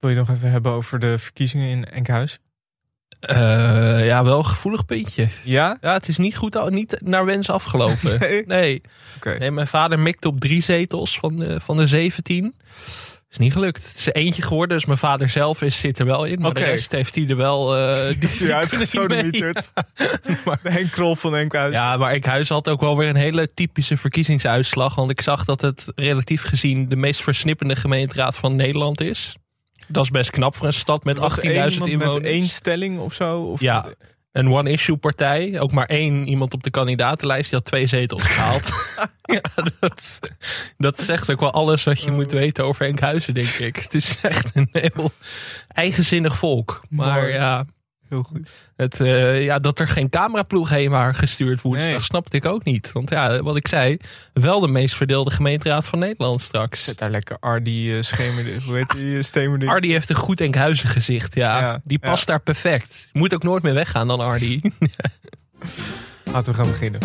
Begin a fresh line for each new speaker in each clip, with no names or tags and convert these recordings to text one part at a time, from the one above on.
Wil je nog even hebben over de verkiezingen in Enkhuis?
Eh, ja, wel een gevoelig puntje.
Ja?
Ja, het is niet goed, al- niet naar wens afgelopen.
Nee?
Nee.
Oké.
nee, mijn vader mikte op drie zetels van de, van de 17. Is niet gelukt. Het is eentje geworden, dus mijn vader zelf is, zit er wel in. Maar de
Oké.
rest heeft hij er wel... eh, die-
Heeft hij
die kon niet mee.
uitgesodemieterd?
Maar-
De Henk Krol van Enkhuis.
Ja, maar ik huis had ook wel weer een hele typische verkiezingsuitslag. Want ik zag dat het relatief gezien de meest versnippende gemeenteraad van Nederland is. Dat is best knap voor een stad met
Er was
18.000
één
inwoners.
iemand Met één stelling of zo? Of
Ja, een one-issue partij. Ook maar één iemand op de kandidatenlijst. Die had twee zetels gehaald. ja, dat, dat zegt ook wel alles wat je
Oh.
moet weten over Enkhuizen, denk ik. Het is echt een heel eigenzinnig volk. Maar
Mooi.
ja,
Heel goed.
het, eh, ja, dat er geen cameraploeg heen waren gestuurd woensdag,
Nee.
snapte ik ook niet. Want ja, wat ik zei, wel de meest verdeelde gemeenteraad van Nederland straks.
Zet daar lekker Ardi eh schemer... Hoe heet die? eh, Stemerding.
Ardi heeft een goed Enkhuizen gezicht, ja.
Ja,
Die past daar perfect. Je moet ook nooit meer weggaan dan Ardi.
Laten we gaan beginnen.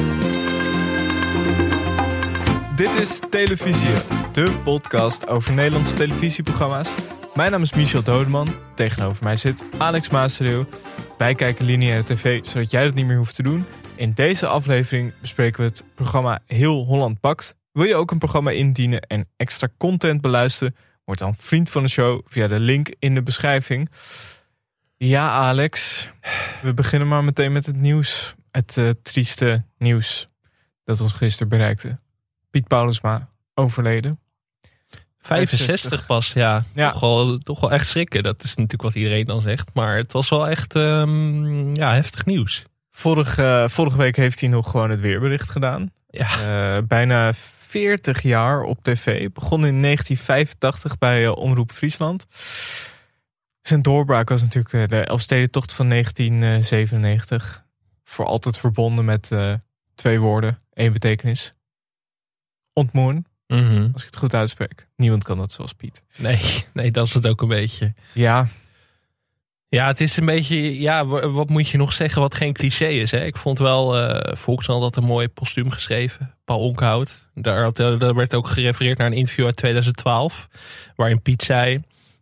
Dit is Televisie, de podcast over Nederlandse televisieprogramma's. Mijn naam is Michel Dodeman. Tegenover mij zit Alex Maasdeel. Wij kijken lineaire tv, zodat jij dat niet meer hoeft te doen. In deze aflevering bespreken we het programma Heel Holland Pakt. Wil je ook een programma indienen en extra content beluisteren? Word dan vriend van de show via de link in de beschrijving. Ja, Alex, we beginnen maar meteen met het nieuws. Het eh, trieste nieuws dat ons gisteren bereikte. Piet Paulusma, overleden.
65 pas, ja.
Ja.
Toch, wel, toch wel echt schrikken. Dat is natuurlijk wat iedereen dan zegt. Maar het was wel echt ehm, ja, heftig nieuws.
Vorige, eh, vorige week heeft hij nog gewoon het weerbericht gedaan.
Ja.
Eh, bijna 40 jaar op tv. Begon in 1985 bij eh, Omroep Friesland. Zijn doorbraak was natuurlijk eh, de Elfstedentocht van 1997. Voor altijd verbonden met eh, twee woorden, één betekenis. Ontmoen,
Mhm.
als ik het goed uitspreek. Niemand kan dat zoals Piet.
nee, nee, dat is het ook een beetje.
Ja,
Ja, het is een beetje. Ja, wa- wat moet je nog zeggen wat geen cliché is? Hè? Ik vond wel. eh Volkskrant had een mooi postuum geschreven. Paul Onkhout. Daar, had, eh, daar werd ook gerefereerd naar een interview uit 2012. Waarin Piet zei: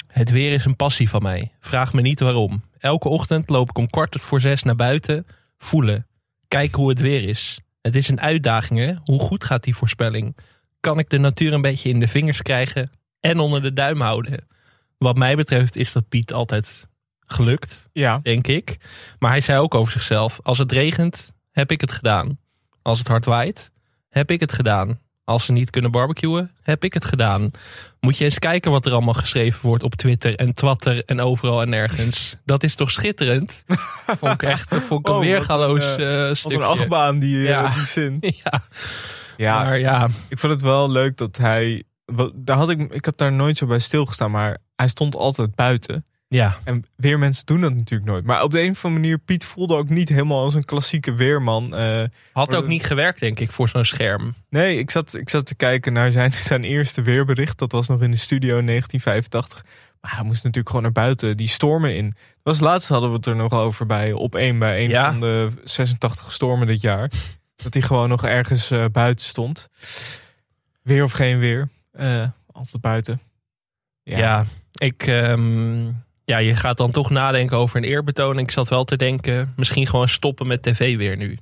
Het weer is een passie van mij. Vraag me niet waarom. Elke ochtend loop ik om kwart voor zes naar buiten. Voelen. Kijken hoe het weer is. Het is een uitdaging, hè? Hoe goed gaat die voorspelling? Kan ik de natuur een beetje in de vingers krijgen en onder de duim houden? Wat mij betreft is dat Piet altijd gelukt
ja.
denk ik. Maar hij zei ook over zichzelf: als het regent, heb ik het gedaan. Als het hard waait, heb ik het gedaan. Als ze niet kunnen barbecuen, heb ik het gedaan. Moet je eens kijken wat er allemaal geschreven wordt op Twitter en Twatter en overal en nergens. Dat is toch schitterend? Vond ik echt eh, vond ik een
Oh, wat
weergaloos
een,
eh,
Wat een
stukje.
achtbaan, die, eh,
Ja.
die zin.
Ja,
Ja,
maar ja,
ik vond het wel leuk dat hij... wel- Daar had ik, ik had daar nooit zo bij stilgestaan, maar hij stond altijd buiten.
ja,
En weermensen doen dat natuurlijk nooit. Maar op de een of andere manier, Piet voelde ook niet helemaal als een klassieke weerman. Eh,
had ook niet gewerkt denk ik voor zo'n scherm.
nee, ik zat, ik zat te kijken naar zijn, zijn eerste weerbericht. Dat was nog in de studio in 1985. Maar hij moest natuurlijk gewoon naar buiten, die stormen in. Dat was laatst hadden we het er nog over bij op één bij een
Ja.
van de 86 stormen dit jaar. Dat hij gewoon nog ergens eh, buiten stond. Weer of geen weer. eh, altijd buiten.
Ja, ik. ehm, ja, je gaat dan toch nadenken over een eerbetoon. Ik zat wel te denken, misschien gewoon stoppen met tv weer nu.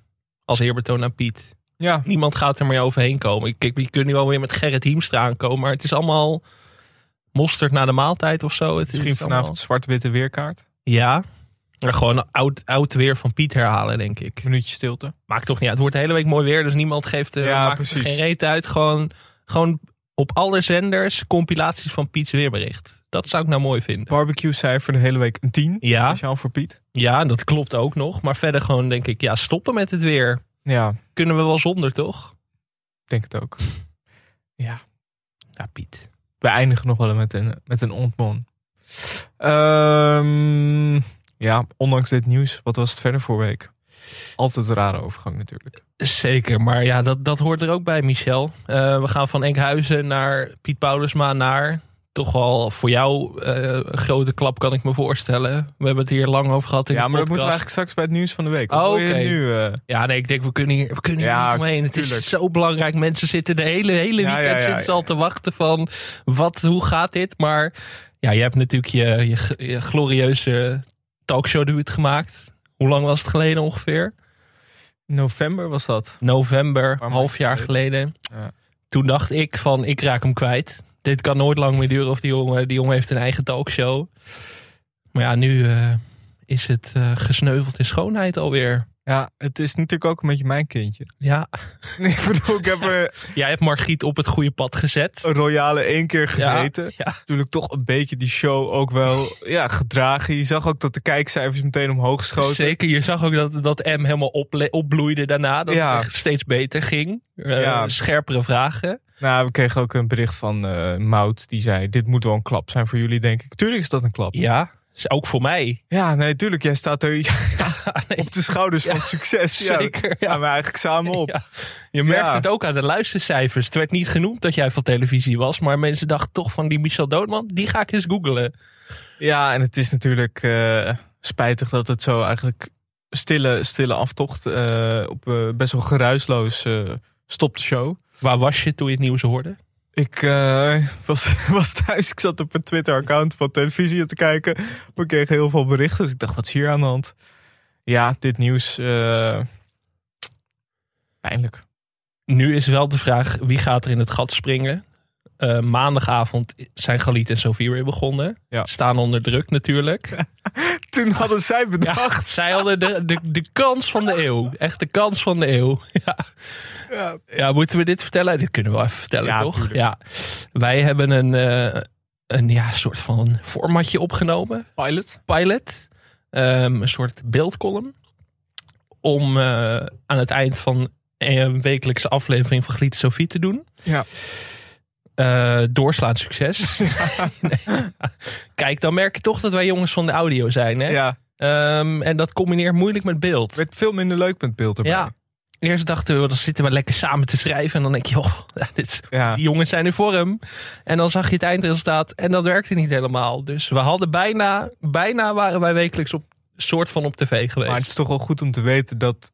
Als eerbetoon aan Piet.
Ja,
Niemand gaat er meer overheen komen. Ik- Kijk, je kunt nu wel weer met Gerrit Hiemstra aankomen. Maar het is allemaal mosterd na de maaltijd of zo. Het is
misschien
allemaal-
vanavond zwart-witte weerkaart.
Ja. Maar gewoon een oud, oud weer van Piet herhalen, denk ik.
Minuutje stilte.
Maakt toch niet uit. Het wordt de hele week mooi weer, dus niemand geeft eh
Ja,
maakt er
precies.
geen reet uit. Gewoon, gewoon op alle zenders compilaties van Piet's weerbericht. Dat zou ik nou mooi vinden.
Barbecue cijfer de hele week een 10.
Ja.
Speciaal voor Piet.
Ja, dat klopt ook nog. Maar verder gewoon denk ik, ja, stoppen met het weer.
Ja,
Kunnen we wel zonder, toch?
ik denk het ook. Ja.
Ja, Piet.
We eindigen nog wel met een, met een ontmon. Ehm, ja, ondanks dit nieuws, wat was het verder voor week? Altijd een rare overgang natuurlijk.
Zeker, maar ja, dat, dat hoort er ook bij, Michel. Eh, we gaan van Enkhuizen naar Piet Paulusma naar... Toch wel voor jou eh, een grote klap, kan ik me voorstellen. We hebben het hier lang over gehad in
ja,
de
maar dat
podcast.
moeten we eigenlijk straks bij het nieuws van de week. Of
Oh,
wil je het
oké.
nu? eh,
Ja, nee, ik denk, we kunnen hier, we kunnen hier
Ja,
niet omheen. Het
tuurlijk.
is zo belangrijk. Mensen zitten de hele, hele
Ja,
weekend
ja, ja,
zitten ze al
ja.
te wachten van... Wat, hoe gaat dit? Maar Ja, je hebt natuurlijk je, je, g- je glorieuze talkshow debuut gemaakt. Hoe lang was het geleden ongeveer?
November was dat.
November,
maanden
half jaar geleden.
Ja.
Toen dacht ik van, ik raak hem kwijt. Dit kan nooit lang meer duren of die jongen, die jongen heeft een eigen talkshow. Maar ja, nu eh, is het eh, gesneuveld in schoonheid alweer.
Ja, het is natuurlijk ook een beetje mijn kindje.
Ja,
Ik bedoel, ik heb er
jij hebt Margriet op het goede pad gezet.
een royale één keer gezeten.
Ja,
Natuurlijk toch een beetje die show ook wel ja, gedragen. Je zag ook dat de kijkcijfers meteen omhoog schoten.
zeker. Je zag ook dat, dat M helemaal ople- opbloeide daarna. Dat
Ja.
het echt steeds beter ging. Eh,
Ja.
Scherpere vragen.
Nou, we kregen ook een bericht van eh Mout. Die zei, dit moet wel een klap zijn voor jullie, denk ik. Tuurlijk is dat een klap.
Ja, is ook voor mij.
Ja, nee, tuurlijk. Jij staat er
Nee,
op de schouders van het succes. Ja,
zeker,
daar Staan we eigenlijk samen op.
Ja. Je merkt
Ja.
het ook aan de luistercijfers. Het werd niet genoemd dat jij van televisie was, maar mensen dachten toch van die Michel Doodman, die ga ik eens googlen.
Ja, en het is natuurlijk eh, spijtig dat het zo eigenlijk stille, stille aftocht eh, op eh, best wel geruisloos eh, stopt de show.
Waar was je toen je het nieuws hoorde?
Ik eh, was, was thuis, ik zat op een Twitter-account van televisie te kijken. We kregen heel veel berichten, dus ik dacht, wat is hier aan de hand? Ja, dit nieuws. eh, pijnlijk.
Nu is wel de vraag, wie gaat er in het gat springen? Eh, maandagavond zijn Galit en Sofie weer begonnen.
Ja.
Staan onder druk natuurlijk.
Toen hadden zij bedacht.
Zij hadden de, de, de kans van de eeuw. Echt de kans van de eeuw. Ja.
Ja.
Ja, moeten we dit vertellen? Dit kunnen we wel even vertellen,
Ja,
toch?
tuurlijk.
Ja. Wij hebben een, eh, een ja, soort van formatje opgenomen.
Pilot?
pilot. ehm, een soort beeldcolumn. Om eh, aan het eind van een wekelijkse aflevering van Gliet Sophie te doen.
Ja.
Eh, doorslaand succes. Nee. Kijk, dan merk je toch dat wij jongens van de audio zijn. Hè?
Ja.
Ehm, en dat combineert moeilijk met beeld.
Werd veel minder leuk met beeld erbij.
Ja. Eerst dachten we, dan zitten we lekker samen te schrijven. En dan denk je, joh, ja, dit is
ja.
die jongens zijn in vorm. En dan zag je het eindresultaat en dat werkte niet helemaal. Dus we hadden bijna, bijna waren wij wekelijks op soort van op tv geweest.
Maar het is toch wel goed om te weten dat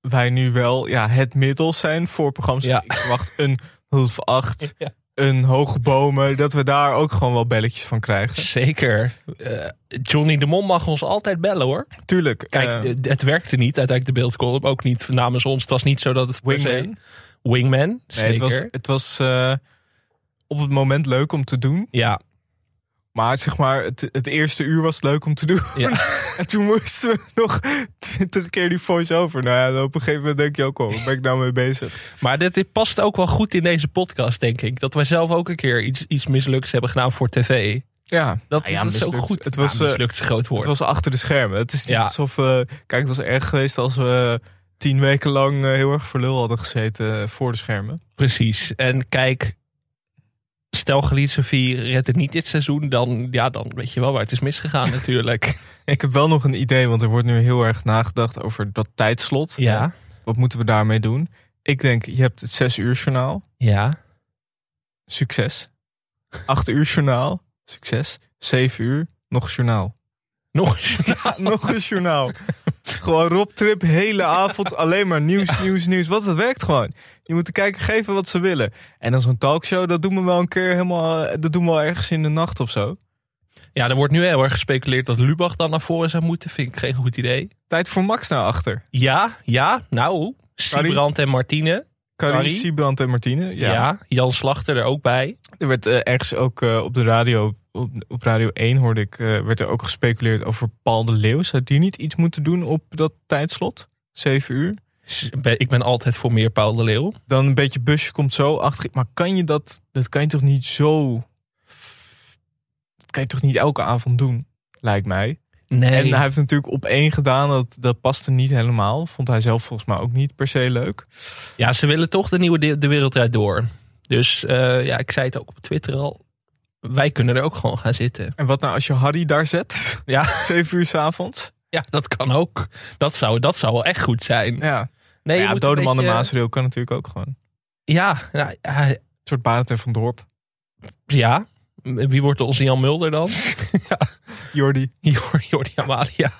wij nu wel ja, het middel zijn voor programma's.
Ja.
Ik verwacht een half acht,
Ja.
een hoge bomen. Dat we daar ook gewoon wel belletjes van krijgen.
Zeker. Eh, Johnny de Mol mag ons altijd bellen hoor.
Tuurlijk.
Kijk,
eh,
d- het werkte niet. Uiteindelijk de beeldcolumn ook niet namens ons. Het was niet zo dat het per se-
Wingman.
Wingman,
Nee,
zeker.
het was, het was eh, op het moment leuk om te doen.
Ja,
Maar zeg maar, het, het eerste uur was leuk om te doen.
Ja.
En toen moesten we nog twintig keer die voice-over. Nou ja, dan op een gegeven moment denk je ook al, waar ben ik nou mee bezig?
maar dit, dit past ook wel goed in deze podcast, denk ik. Dat wij zelf ook een keer iets, iets misluks hebben gedaan voor tv.
Ja,
Dat,
Nou ja,
dat is ook
mislukt.
goed.
Het was,
Ja,
eh,
mislukt is een groot woord.
Het was achter de schermen. Het is niet
Ja.
alsof... eh, kijk, het was erg geweest als we tien weken lang eh, heel erg voor lul hadden gezeten eh, voor de schermen.
Precies. En kijk, stel Geliet Sofie redt het niet dit seizoen, dan, ja, dan weet je wel waar het is misgegaan natuurlijk.
Ik heb wel nog een idee, want er wordt nu heel erg nagedacht over dat tijdslot.
ja,
Wat moeten we daarmee doen? Ik denk, je hebt het zes uur journaal.
ja.
Succes. Acht uur journaal. Succes. Zeven uur. Nog een journaal.
Nog eens.
nog een journaal. Gewoon Rob Trip, hele avond alleen maar nieuws, nieuws, nieuws. Wat het werkt gewoon. Je moet de kijker geven wat ze willen. En dan zo'n talkshow, dat doen we wel een keer helemaal. eh, Dat doen we wel ergens in de nacht of zo.
Ja, er wordt nu heel erg gespeculeerd dat Lubach dan naar voren zou moeten. Vind ik geen goed idee.
Tijd voor Max naar achter.
Ja, ja, nou. Sibrand en Martine.
Carrie,
Carrie?
Siebrand en Martine.
Ja.
Ja.
Jan Slachter er ook bij.
Er werd eh, ergens ook eh, op de radio. Op, op radio 1 hoorde ik. eh, werd er ook gespeculeerd over Paul de Leeuw. Zou die niet iets moeten doen op dat tijdslot? Zeven uur.
S- ben- Ik ben altijd voor meer Paul de Leeuw.
dan een beetje busje komt zo achter. Maar kan je dat, dat kan je toch niet zo, dat kan je toch niet elke avond doen, lijkt mij. En
Nee,
hij heeft natuurlijk op één gedaan, dat, dat paste niet helemaal. Vond hij zelf volgens mij ook niet per se leuk.
ja, ze willen toch de nieuwe de, de wereld eruit door. Dus eh, ja, ik zei het ook op Twitter al. Wij kunnen er ook gewoon gaan zitten.
En wat nou als je Harry daar zet,
Ja.
zeven uur s'avonds?
Ja, dat kan ook. Dat zou, dat zou wel echt goed zijn.
Ja,
Nee, je
ja
moet een
Dodeman
beetje-
en Maasreel kan natuurlijk ook gewoon. Een
Ja, nou, ja,
soort Barend van Dorp.
ja. Wie wordt onze Jan Mulder dan?
Jordi.
Jor- Jordi Amalia.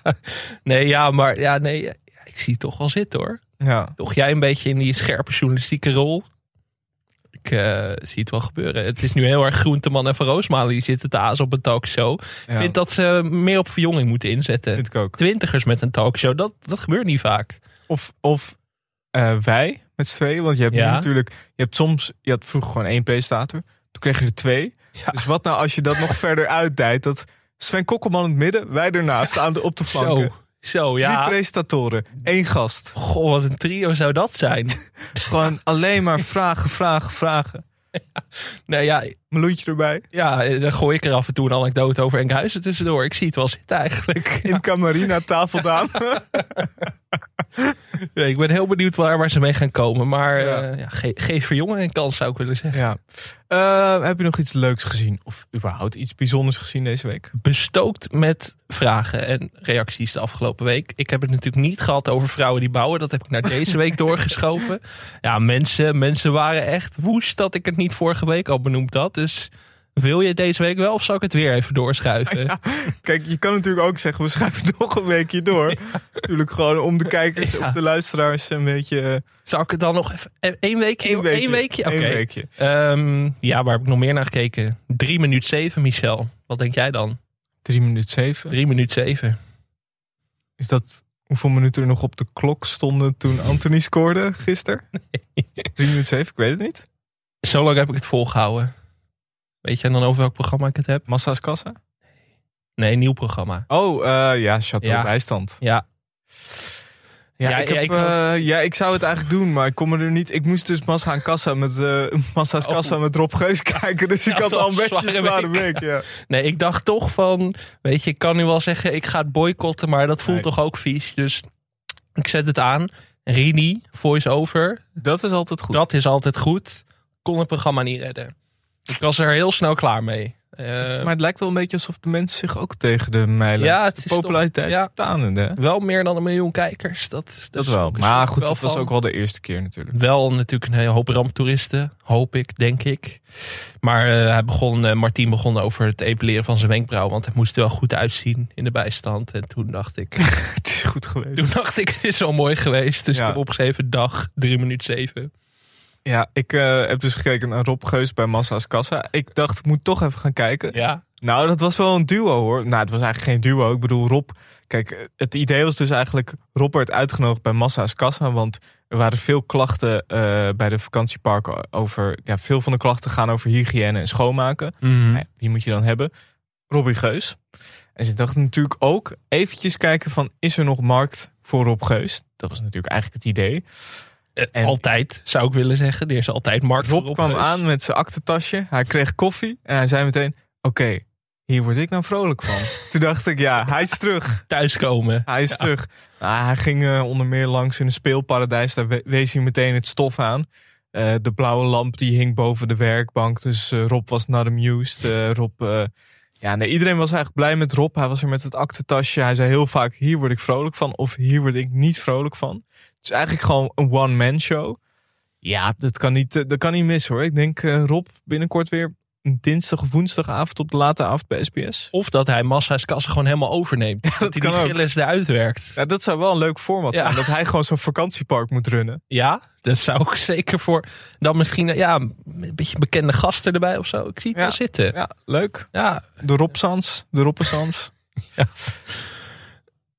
Nee, ja, maar ja, nee, ja, ik zie het toch wel zitten hoor.
Ja.
Toch jij een beetje in die scherpe journalistieke rol? ik eh, zie het wel gebeuren. Het is nu heel erg Groenteman en Van Roosmalen die zitten te aas op een talkshow. Ik
Ja,
vind dat ze meer op verjonging moeten inzetten.
vind ik ook.
Twintigers met een talkshow, dat, dat gebeurt niet vaak.
Of, of eh, wij met z'n tweeën. Want je hebt nu
Ja.
natuurlijk. Je hebt soms. Je had vroeger gewoon één presentator. Toen kreeg je er twee.
Ja.
Dus wat nou als je dat nog verder uitdijt? Dat Sven Kokkelman in het midden, wij ernaast aan de, op de flanken.
Zo, zo
Drie
ja.
presentatoren, één gast.
Goh, wat een trio zou dat zijn.
Gewoon alleen maar vragen, vragen, vragen.
nou ja,
Meloentje erbij.
ja, eh, dan gooi ik er af en toe een anekdote over Enkhuizen tussendoor. Ik zie het wel zitten eigenlijk.
In Camarina, tafeldame.
Ja, ik ben heel benieuwd waar, waar ze mee gaan komen. Maar
Ja.
eh, ja, ge- geef verjongen een kans, zou ik willen zeggen.
ja. Eh, heb je nog iets leuks gezien? Of überhaupt iets bijzonders gezien deze week?
Bestookt met vragen en reacties de afgelopen week. Ik heb het natuurlijk niet gehad over vrouwen die bouwen. Dat heb ik naar deze week doorgeschoven. Ja, mensen, mensen waren echt woest dat ik het niet vorige week al benoemd had. Dus wil je het deze week wel of zal ik het weer even doorschuiven?
Kijk, je kan natuurlijk ook zeggen, we schuiven nog een weekje door. Natuurlijk gewoon om de kijkers
Ja.
of de luisteraars een beetje... eh,
Zal ik het dan nog even... eh, één weekje?
één
door-
weekje.
Één weekje? Oké.
Eén weekje.
Ehm, ja, waar heb ik nog meer naar gekeken? 3 minuut 7, Michel. Wat denk jij dan?
Drie minuten zeven.
3 minuut 7.
Is dat hoeveel minuten er nog op de klok stonden toen Anthony scoorde gisteren? Drie minuten zeven, ik weet het niet.
Zo lang heb ik het volgehouden. Weet jij dan over welk programma ik het heb?
Massa's kassa?
Nee, nieuw programma.
Oh, eh, ja, Chateau
Ja.
Bijstand.
Ja,
Ja,
Ja,
ik
ja,
heb,
ik had-
eh, ja, ik zou het eigenlijk doen, maar ik kom er niet. Ik moest dus massa aan kassa met, eh, massa's
Oh.
kassa met Rob Geus kijken. Dus ik
Ja,
had al een
dat was
beetje
zware
zware week. Ja.
nee, ik dacht toch van, weet je, ik kan nu wel zeggen, ik ga het boycotten, maar dat voelt
Nee.
toch ook vies. Dus ik zet het aan. Rini, voice-over,
Dat is altijd goed.
dat is altijd goed. Kon het programma niet redden. Ik was er heel snel klaar mee. Eh,
maar het lijkt wel een beetje alsof de mensen zich ook tegen de mijlen.
Ja, het
de
is toch-
populariteit
ja.
stanende. hè?
Wel meer dan een miljoen kijkers. Dat, is-
Dat
is
wel.
ook- is
Maar
ook
goed, dat was
van.
ook wel de eerste keer natuurlijk.
Wel natuurlijk een hele hoop ramptoeristen, hoop ik, denk ik. Maar eh, hij begon, eh, Martien begon over het epileren van zijn wenkbrauw, want hij moest er wel goed uitzien in de bijstand. En toen dacht ik,
het is goed geweest.
toen dacht ik, het is wel mooi geweest. Dus
Ja.
ik heb opgeschreven dag, drie minuut zeven.
Ja, ik eh, heb dus gekeken naar Rob Geus bij Massa's Kassa. Ik dacht, ik moet toch even gaan kijken.
Ja,
Nou, dat was wel een duo hoor. Nou, het was eigenlijk geen duo. Ik bedoel, Rob. Kijk, het idee was dus eigenlijk. Rob werd uitgenodigd bij Massa's Kassa. Want er waren veel klachten eh, bij de vakantieparken over. Ja, veel van de klachten gaan over hygiëne en schoonmaken.
Mhm.
Nou ja, wie moet je dan hebben? Robbie Geus. En ze dachten natuurlijk ook eventjes kijken van... is er nog markt voor Rob Geus? Dat was natuurlijk eigenlijk het idee.
Eh,
En-
altijd, zou ik willen zeggen. Er is altijd markt voor
Rob kwam
opgeus.
aan met zijn aktentasje. Hij kreeg koffie en hij zei meteen... oké, hier word ik nou vrolijk van. Toen dacht ik, ja, hij is terug.
Thuiskomen.
Hij is terug. Nou, hij ging eh, onder meer langs in een speelparadijs. Daar we- wees hij meteen het stof aan. Eh, de blauwe lamp die hing boven de werkbank. Dus eh, Rob was not amused. Eh, Rob, eh, ja, nee, iedereen was eigenlijk blij met Rob. Hij was er met het aktentasje. Hij zei heel vaak, hier word ik vrolijk van. Of hier word ik niet vrolijk van. Het is eigenlijk gewoon een one-man show. Ja, dat kan niet, eh, dat kan niet mis hoor. Ik denk eh, Rob binnenkort weer een dinsdag of woensdagavond op de late avond bij SBS.
Of dat hij massa's kassen gewoon helemaal overneemt. dat, hij
kan ook.
die gillis eruit werkt.
Ja, dat zou wel een leuk format
Ja.
zijn. Dat hij gewoon zo'n vakantiepark moet runnen.
Ja, daar zou ik zeker voor. Dan misschien ja, een beetje bekende gasten erbij of zo. Ik zie het
Ja.
wel zitten.
Ja, leuk.
Ja,
De Robsans, de Roppesans.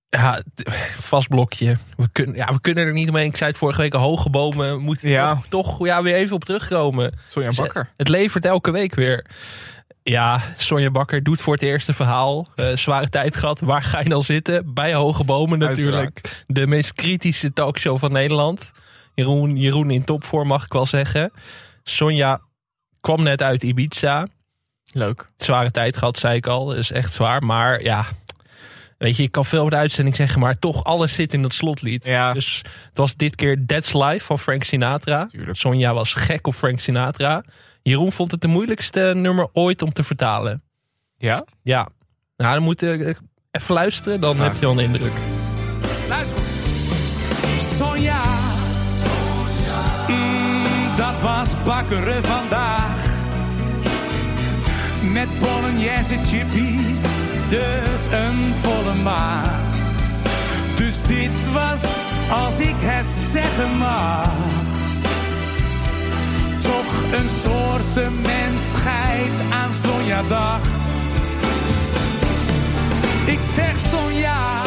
ja t- vast blokje. We kunnen, ja, we kunnen er niet omheen. Ik zei het vorige week, al, hoge bomen moeten
Ja.
toch, toch ja, weer even op terugkomen.
Sonja
Ze-
Bakker.
Het levert elke week weer. Ja, Sonja Bakker doet voor het eerste verhaal. Eh, zware tijd gehad. Waar ga je dan zitten? Bij Hoge Bomen natuurlijk.
Uiteraard.
De meest kritische talkshow van Nederland. Jeroen, Jeroen in topvorm mag ik wel zeggen. Sonja kwam net uit Ibiza.
Leuk.
zware tijd gehad, zei ik al. Dat is echt zwaar. Maar ja, weet je, ik kan veel over de uitzending zeggen, maar toch alles zit in dat slotlied.
Ja.
Dus het was dit keer That's Life van Frank Sinatra.
Tuurlijk.
Sonja was gek op Frank Sinatra. Jeroen vond het de moeilijkste nummer ooit om te vertalen.
Ja?
Ja, nou dan moet je even luisteren, dan heb je al een indruk.
Luister. Sonja. Mm, dat was bakkeren vandaag. Met bolognese chippies. Dus een volle maag. Dus dit was, als ik het zeggen mag. toch een soort mensheid aan Sonjadag. Ik zeg Sonja,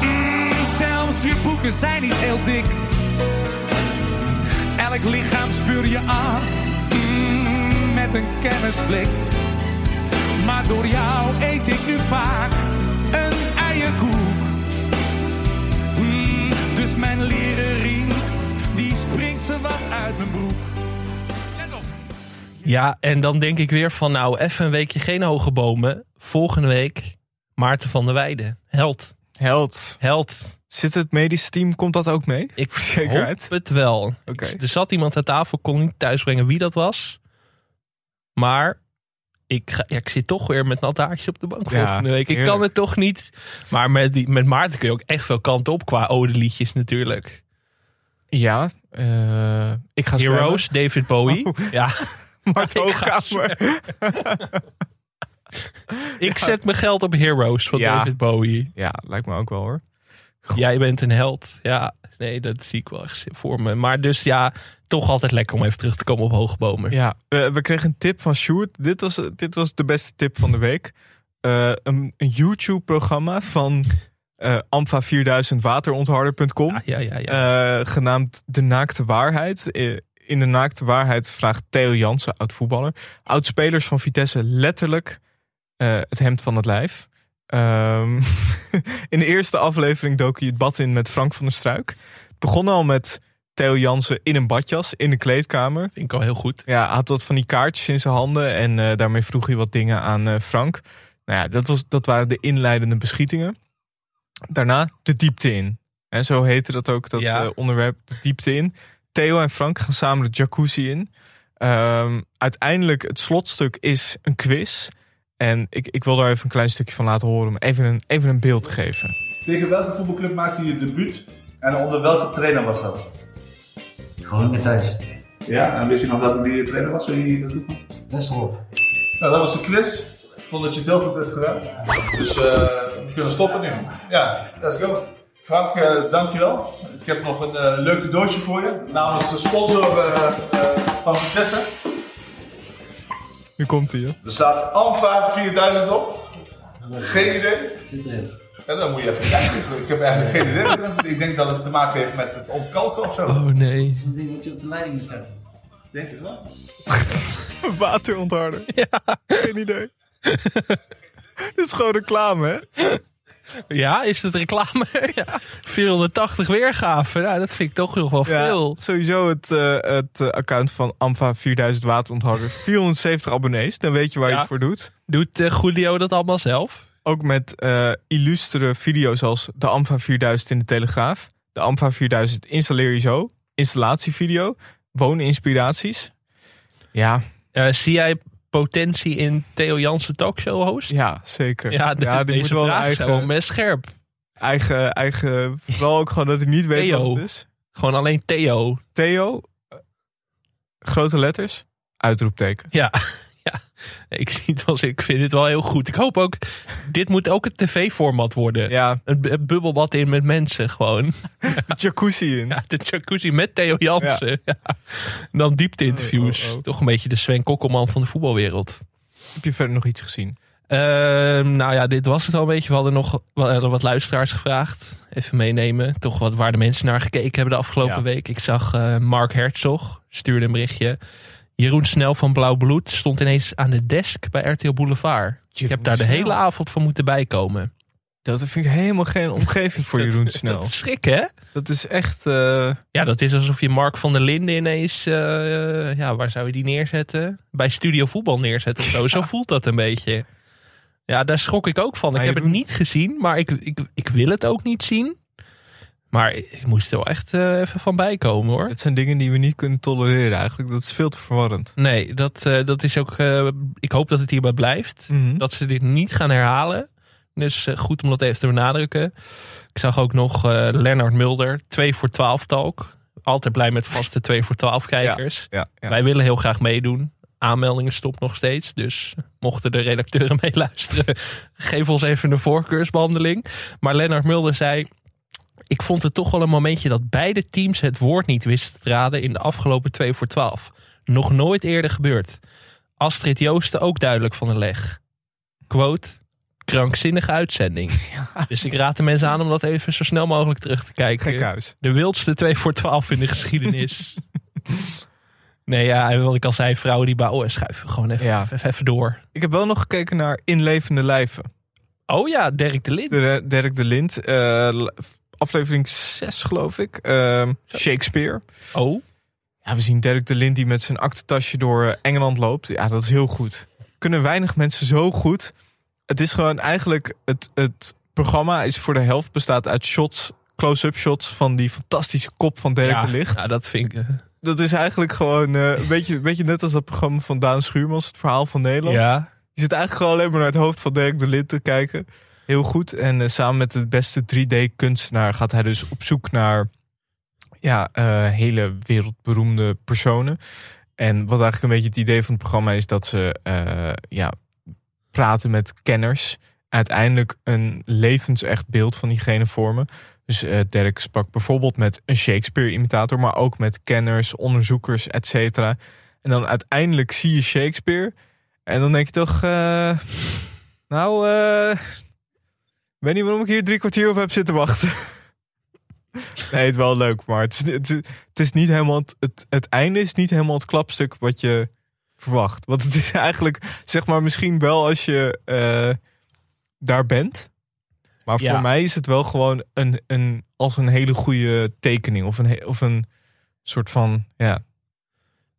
mm, zelfs je boeken zijn niet heel dik. Elk lichaam speur je af mm, met een kennisblik. Maar door jou eet ik nu vaak een eierkoek. Mm, dus mijn leren riem, die springt ze wat uit mijn broek. Let op.
Ja, en dan denk ik weer van nou, even een weekje geen hoge bomen. Volgende week Maarten van der Weijden. Held.
Held.
Held.
Zit het medisch team, komt dat ook mee?
Ik
Voor zekerheid.
hoop het wel.
Oké.
Er zat iemand aan tafel, kon niet thuisbrengen wie dat was. Maar ik, ga, ja, ik zit toch weer met een altaartje op de bank
Ja,
volgende week. Ik
heerlijk.
kan het toch niet. Maar met, die, met Maarten kun je ook echt veel kant op qua odeliedjes natuurlijk.
Ja, eh, ik ga zwemmen.
Heroes, David Bowie.
Oh.
Ja,
Mart
Ik ga
Hoogkamer.
ik zet mijn geld op Heroes van
Ja.
David Bowie.
Ja, lijkt me ook wel hoor.
Jij bent een held. Ja, nee, dat zie ik wel echt voor me. Maar dus ja, toch altijd lekker om even terug te komen op hoge bomen.
Ja, we, we kregen een tip van Sjoerd. Dit was, dit was de beste tip van de week. Eh, een, een YouTube-programma van eh amfa4000waterontharder.com.
Ja, ja, ja. ja.
eh, genaamd De Naakte Waarheid. Eh, In De Naakte Waarheid vraagt Theo Jansen, oud-voetballer, oud-spelers van Vitesse letterlijk eh, het hemd van het lijf. Ehm, in de eerste aflevering dook hij het bad in met Frank van der Struik. Het begon al met Theo Jansen in een badjas in de kleedkamer.
Vind ik al heel goed.
Ja, hij had dat van die kaartjes in zijn handen en eh, daarmee vroeg hij wat dingen aan eh, Frank. Nou ja, dat, was, dat waren de inleidende beschietingen. Daarna de diepte in. En zo heette dat ook, dat
Ja.
eh, onderwerp, de diepte in. Theo en Frank gaan samen de jacuzzi in. Ehm, uiteindelijk, het slotstuk is een quiz. En ik, ik wil daar even een klein stukje van laten horen om even een, even een beeld te geven.
Tegen welke voetbalclub maakte je je debuut en onder welke trainer was dat?
Groningen thuis.
Ja, en weet je nog welke die trainer was die je dat doet?
Westerhof.
Nou, dat was de quiz. Ik vond dat je het heel goed hebt gedaan. Dus eh, we kunnen stoppen nu. Ja, let's go. Frank, eh, dankjewel. Ik heb nog een eh, leuk cadeautje voor je. Namens de sponsor eh, eh, van Vitesse.
Nu komt hij.
Er staat Alfa 4000 op. Geen idee.
Zit erin.
En dan moet je even kijken. Ik- Ik heb eigenlijk geen idee. wat erin zit. Ik denk dat het te maken heeft met het ontkalken of zo.
Oh nee.
Dat ding wat je op de leiding moet zetten.
Denk het wel.
Waterontharder. Geen idee. Dit is gewoon reclame, hè?
Ja, is dat reclame? ja. 480 weergaven. Nou, dat vind ik toch nog wel veel.
Sowieso het, eh, het eh, account van AMFA 4000 waterontharder. 470 abonnees, dan weet je waar je
Ja.
het voor doet.
Doet eh, Julio dat allemaal zelf?
Ook met eh, illustere video's als de AMFA 4000 in de Telegraaf. De AMFA 4000 installeer je zo. Installatievideo. Wooninspiraties. Ja,
Eh, zie jij potentie in Theo Jansen talkshow host?
ja zeker.
Ja,
die
de- deze
moet wel een
vragen zijn wel
eigen,
best scherp.
eigen, eigen... Vooral ook gewoon dat hij niet weet wat
Theo.
het is.
Gewoon alleen Theo.
Theo. eh, Grote letters. Uitroepteken.
Ja, ja. Ik, zie het wel, ik vind het wel heel goed. Ik hoop ook, dit moet ook het tv-format worden.
Ja,
Een bu- een bubbelbad in met mensen gewoon.
de jacuzzi in.
Ja, de jacuzzi met Theo Jansen. Ja. En Dan diepte interviews.
Oh, oh, oh.
Toch een beetje de Sven Kokkelman van de voetbalwereld.
Heb je verder nog iets gezien?
Ehm, nou ja, dit was het al een beetje. We hadden nog we hadden wat luisteraars gevraagd. Even meenemen. Toch wat waar de mensen naar gekeken hebben de afgelopen
Ja.
week. Ik zag eh, Mark Herzog, stuurde een berichtje. Jeroen Snel van Blauw Bloed stond ineens aan de desk bij RTL Boulevard. ik heb daar de
Snel.
hele avond van moeten bijkomen.
Dat vind ik helemaal geen omgeving voor
Dat-
Jeroen Snel.
Dat is schrik, hè?
Dat is echt... eh,
Ja, dat is alsof je Mark van der Linden ineens... eh, ja, waar zou je die neerzetten? Bij Studio Voetbal neerzet of zo. Zo voelt dat een beetje. Ja, daar schrok ik ook van.
Maar
ik heb
je
het
doet-
niet gezien, maar ik, ik, ik wil het ook niet zien. Maar ik moest er wel echt eh, even van bijkomen, hoor.
het zijn dingen die we niet kunnen tolereren eigenlijk. Dat is veel te verwarrend.
Nee, dat, eh, dat is ook... eh, ik hoop dat het hierbij blijft.
Mhm.
Dat ze dit niet gaan herhalen. Dus eh, goed om dat even te benadrukken. Ik zag ook nog eh Lennart Mulder. 2 voor 12 talk. Altijd blij met vaste 2 voor 12 kijkers.
Ja, ja.
Wij willen heel graag meedoen. Aanmeldingen stopt nog steeds. Dus mochten de redacteuren meeluisteren, geef ons even een voorkeursbehandeling. Maar Lennart Mulder zei. Ik vond het toch wel een momentje dat beide teams het woord niet wisten te raden in de afgelopen 2 voor 12. Nog nooit eerder gebeurd. Astrid Joosten ook duidelijk van de leg. Quote, krankzinnige uitzending. Dus ik raad de mensen aan om dat even zo snel mogelijk terug te kijken.
Gekhuis.
De wildste 2 voor 12 in de geschiedenis. nee, ja, en wat ik al zei, vrouwen die bij OS schuiven. Gewoon even,
Ja.
even, even door.
Ik heb wel nog gekeken naar Inlevende Lijven.
Oh ja, Dirk de Lid.
De- Dirk de Lind, eh, l- aflevering 6 geloof ik. Ehm, Shakespeare.
Oh,
Ja, we zien Dirk de Lind die met zijn aktentasje door eh, Engeland loopt. Ja, dat is heel goed. Kunnen weinig mensen zo goed. Het is gewoon eigenlijk... Het, het programma is voor de helft bestaat uit shots... Close-up shots van die fantastische kop van Dirk
ja,
de Licht.
ja, dat vind ik. eh,
Dat is eigenlijk gewoon eh, een, beetje, een beetje net als dat programma van Daan Schuurmans, het verhaal van Nederland.
ja.
Je zit eigenlijk gewoon alleen maar naar het hoofd van Dirk de Lint te kijken. Heel goed. En eh, samen met de beste 3D-kunstenaar gaat hij dus op zoek naar ja, eh, hele wereldberoemde personen. En wat eigenlijk een beetje het idee van het programma is dat ze eh, ja, praten met kenners. Uiteindelijk een levensecht beeld van diegene vormen. Dus eh Dirk sprak bijvoorbeeld met een Shakespeare-imitator, maar ook met kenners, onderzoekers, et cetera. En dan uiteindelijk zie je Shakespeare. En dan denk je toch, eh, nou, eh, ik weet niet waarom ik hier drie kwartier op heb zitten wachten. nee, het is wel leuk, maar het, is, het, is- het is niet helemaal het, het, het einde is niet helemaal het klapstuk wat je verwacht. Want het is eigenlijk, zeg maar, misschien wel als je eh, daar bent. Maar
Ja.
voor mij is het wel gewoon een, een, als een hele goede tekening of een, he- of een soort van, ja.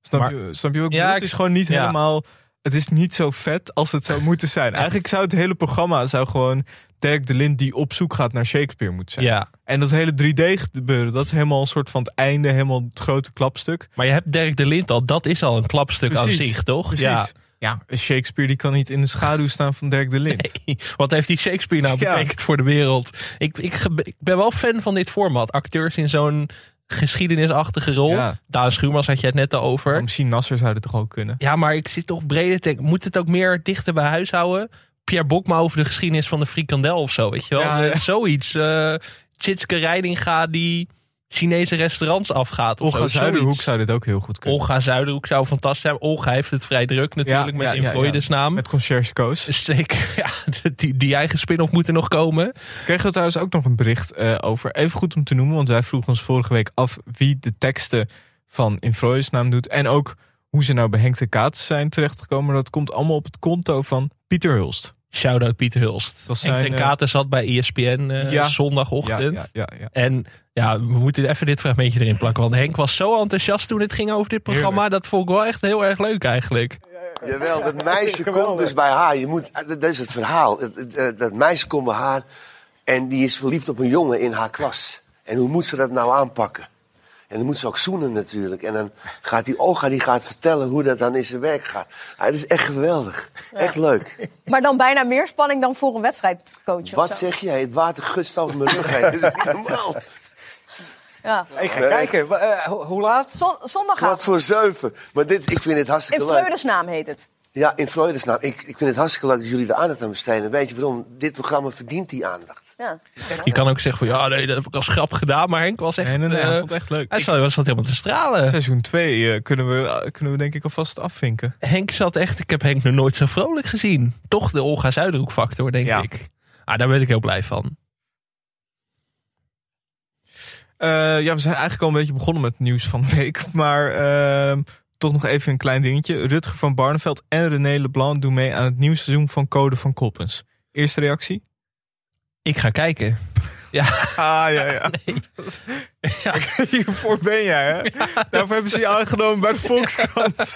Snap,
Maar-
je, snap je wat ik
Ja,
bedoel?
ik-
Het is gewoon niet
ja.
helemaal het is niet zo vet als het zou moeten zijn. Eigenlijk zou het hele programma zou gewoon Dirk de Lind die op zoek gaat naar Shakespeare moeten zijn.
ja.
En dat hele 3D gebeuren, dat is helemaal een soort van het einde, helemaal het grote klapstuk.
Maar je hebt Dirk de Lint al, dat is al een klapstuk
Precies,
aan zich, toch? Ja.
Precies. Ja. Shakespeare die kan niet in de schaduw staan van Dirk de Lind.
Wat heeft die Shakespeare nou
Ja.
betekend voor de wereld? Ik, ik, ge- ik ben wel fan van dit format. Acteurs in zo'n geschiedenisachtige rol.
Ja. Oh,
Daan Schuurmans had je het net al over.
Maar Misschien Nasser zou dat toch ook kunnen.
Ja, maar ik zit toch breder te denken. Moet het ook meer dichter bij huis houden? Pierre Bokma over de geschiedenis van de frikandel of zo, weet je wel?
Ja,
Eh,
ja.
Zoiets. eh Tjitske Reidinga die Chinese restaurants afgaat. Of
Olga
zo,
Zuiderhoek
zoiets.
zou dit ook heel goed kunnen.
Olga Zuiderhoek zou fantastisch zijn. Olga heeft het vrij druk natuurlijk
Ja,
met
ja,
In
ja, ja.
Freudes naam.
Met Concierge Koos.
Zeker, ja, die, die eigen spin-off moet er nog komen.
kregen we trouwens ook nog een bericht eh, over. Even goed om te noemen, want wij vroegen ons vorige week af wie de teksten van In Freud's naam doet. En ook hoe ze nou bij Henk de Kaats zijn terechtgekomen. Dat komt allemaal op het konto van Pieter Hulst.
Shout-out Pieter Hulst.
Dat
Henk
zijn,
ten
eh,
Katen zat bij ESPN eh,
Ja.
zondagochtend.
ja, ja.
En ja, we moeten even dit fragmentje erin plakken. Want Henk was zo enthousiast toen het ging over dit programma.
Heerlijk.
Dat vond ik wel echt heel erg leuk eigenlijk.
Jawel, dat meisje komt dus bij haar. Je moet, dat dat is het verhaal. Het- het- eh, Dat meisje komt bij haar en die is verliefd op een jongen in haar klas. En hoe moet ze dat nou aanpakken? En dan moet ze ook zoenen natuurlijk. En dan gaat die Olga die gaat vertellen hoe dat dan in zijn werk gaat. Ah, dat is echt geweldig. Echt leuk.
Maar dan bijna meer spanning dan voor een wedstrijdcoach. of
Wat
zo.
zeg jij? Het water gutst over mijn rug heen. Dat is niet normaal.
Ja.
Ik ga kijken, Wa- eh, ho- hoe laat?
Zon-
Wat
Zondagavond.
voor zeuven. Maar dit, ik vind dit
In
hartstikke leuk.
Vreudesnaam heet het.
Ja, in Freudesnaam. Ik, ik vind het hartstikke leuk dat jullie de aandacht aan besteden. Weet je waarom? Dit programma verdient die aandacht.
Ja.
Je kan ook zeggen van ja, nee, dat heb ik als grap gedaan. Maar Henk was echt...
Nee, nee, nee, hij
eh,
vond het echt leuk.
Hij
Ik-
zat, zat helemaal te stralen.
Seizoen 2 kunnen, we, eh, kunnen we denk ik alvast afvinken.
Henk zat echt... Ik heb Henk nog nooit zo vrolijk gezien. Toch de Olga Zuiderhoek factor, denk
Ja.
ik. Ah, daar ben ik heel blij van.
Eh, ja, we zijn eigenlijk al een beetje begonnen met het nieuws van de week. Maar ehm, toch nog even een klein dingetje. Rutger van Barneveld en René Leblanc doen mee aan het nieuwe seizoen van Code van Koppens. Eerste reactie?
Ik ga kijken.
Ah, ja, ja.
Nee. Ja.
Hiervoor ben jij, hè? Daarvoor hebben ze je aangenomen bij de Volkskrant.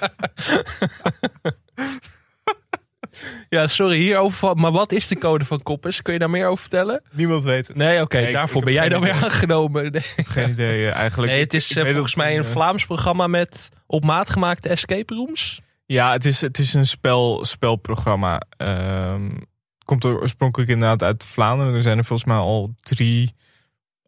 Ja, sorry, hierover. van- Maar wat is de code van Koppers? Kun je daar meer over vertellen?
Niemand weet het.
Nee, oké,
Nee, ik-
daarvoor
ik
ben
heb
jij
geen
dan weer
idee.
aangenomen. Nee,
Geen idee eh, eigenlijk.
Nee, het is
Ik- ik
eh,
weet
volgens
dat het
mij een
eh,
Vlaams programma met op maat gemaakte escape rooms.
Ja, het is, het is een spel, spelprogramma. Ehm, het komt er oorspronkelijk inderdaad uit Vlaanderen. Er zijn er volgens mij al drie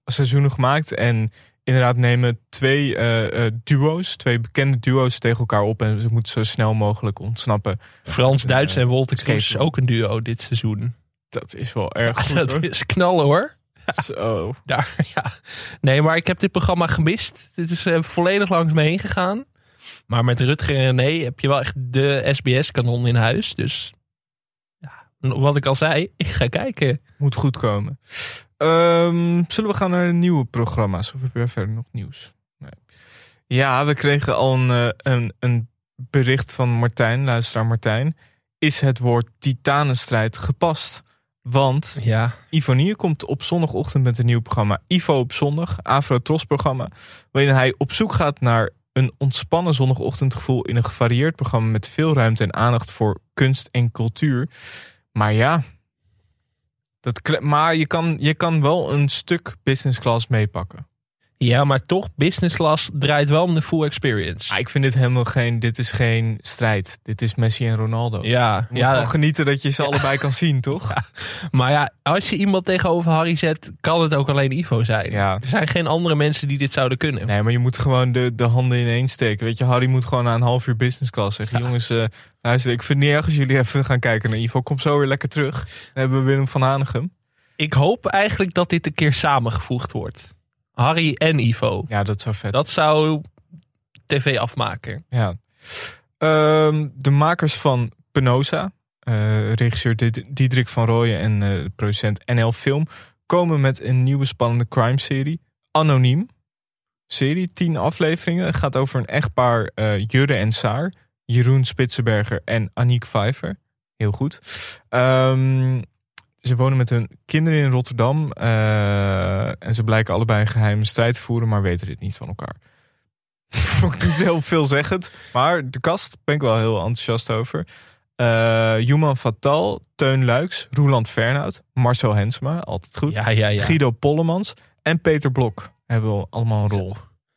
seizoenen gemaakt. En inderdaad nemen twee eh, eh, duo's, twee bekende duo's tegen elkaar op. En ze moeten zo snel mogelijk ontsnappen.
Frans,
Eh,
Duits en Wolter
escape
Kroes,
room.
ook een duo dit seizoen.
Dat is wel erg goed,
dat
hoor.
is knallen hoor.
Zo.
Daar, ja. Nee, maar ik heb dit programma gemist. Dit is eh, volledig langs me heen gegaan. Maar met Rutger en René heb je wel echt de SBS-kanon in huis. Dus ja, wat ik al zei, ik ga kijken.
Moet goed komen. Ehm, zullen we gaan naar de nieuwe programma's? Of heb je verder nog nieuws? Nee. Ja, we kregen al een, eh, een, een bericht van Martijn, luisteraar Martijn. Is het woord titanenstrijd gepast? Want
Ja,
Ivonier komt op zondagochtend met een nieuw programma. Ivo op zondag, Afro Tros programma. Waarin hij op zoek gaat naar een ontspannen zondagochtendgevoel in een gevarieerd programma met veel ruimte en aandacht voor kunst en cultuur. Maar ja, dat, kle- maar je kan, je kan wel een stuk business class meepakken.
ja maar toch, business class draait wel om de full experience.
Ah, ik vind dit helemaal geen, dit is geen strijd. Dit is Messi en Ronaldo. Je
Ja,
moet gewoon
ja,
genieten dat je ze allebei kan zien, toch?
maar ja, als je iemand tegenover Harry zet, kan het ook alleen Ivo zijn.
Ja.
Er zijn geen andere mensen die dit zouden kunnen.
Nee, maar je moet gewoon de, de handen ineen steken. Weet je, Harry moet gewoon na een half uur business class zeggen. Jongens, eh luister, ik vind het niet erg als jullie even gaan kijken naar Ivo. Kom zo weer lekker terug. Dan hebben we Willem van Hanegem.
Ik hoop eigenlijk dat dit een keer samengevoegd wordt. Harry en Ivo.
Ja, dat zou vet.
Dat zou tv afmaken.
Ja. Ehm, de makers van Penosa, eh, regisseur Did- Diederik van Rooyen en eh, producent NL Film, komen met een nieuwe spannende crime-serie, Anoniem. Serie, tien afleveringen, gaat over een echtpaar eh Jurre en Saar, Jeroen Spitsenberger en Aniek Vijver. Heel goed. Ehm, ze wonen met hun kinderen in Rotterdam eh, en ze blijken allebei een geheime strijd te voeren, maar weten dit niet van elkaar. Vond ik niet heel veelzeggend. Maar de kast ben ik wel heel enthousiast over. Eh Juman Fatal, Teun Luiks, Roeland Fernhout, Marcel Hensma, altijd goed.
Ja, ja, ja.
Guido Pollemans en Peter Blok hebben wel allemaal een rol.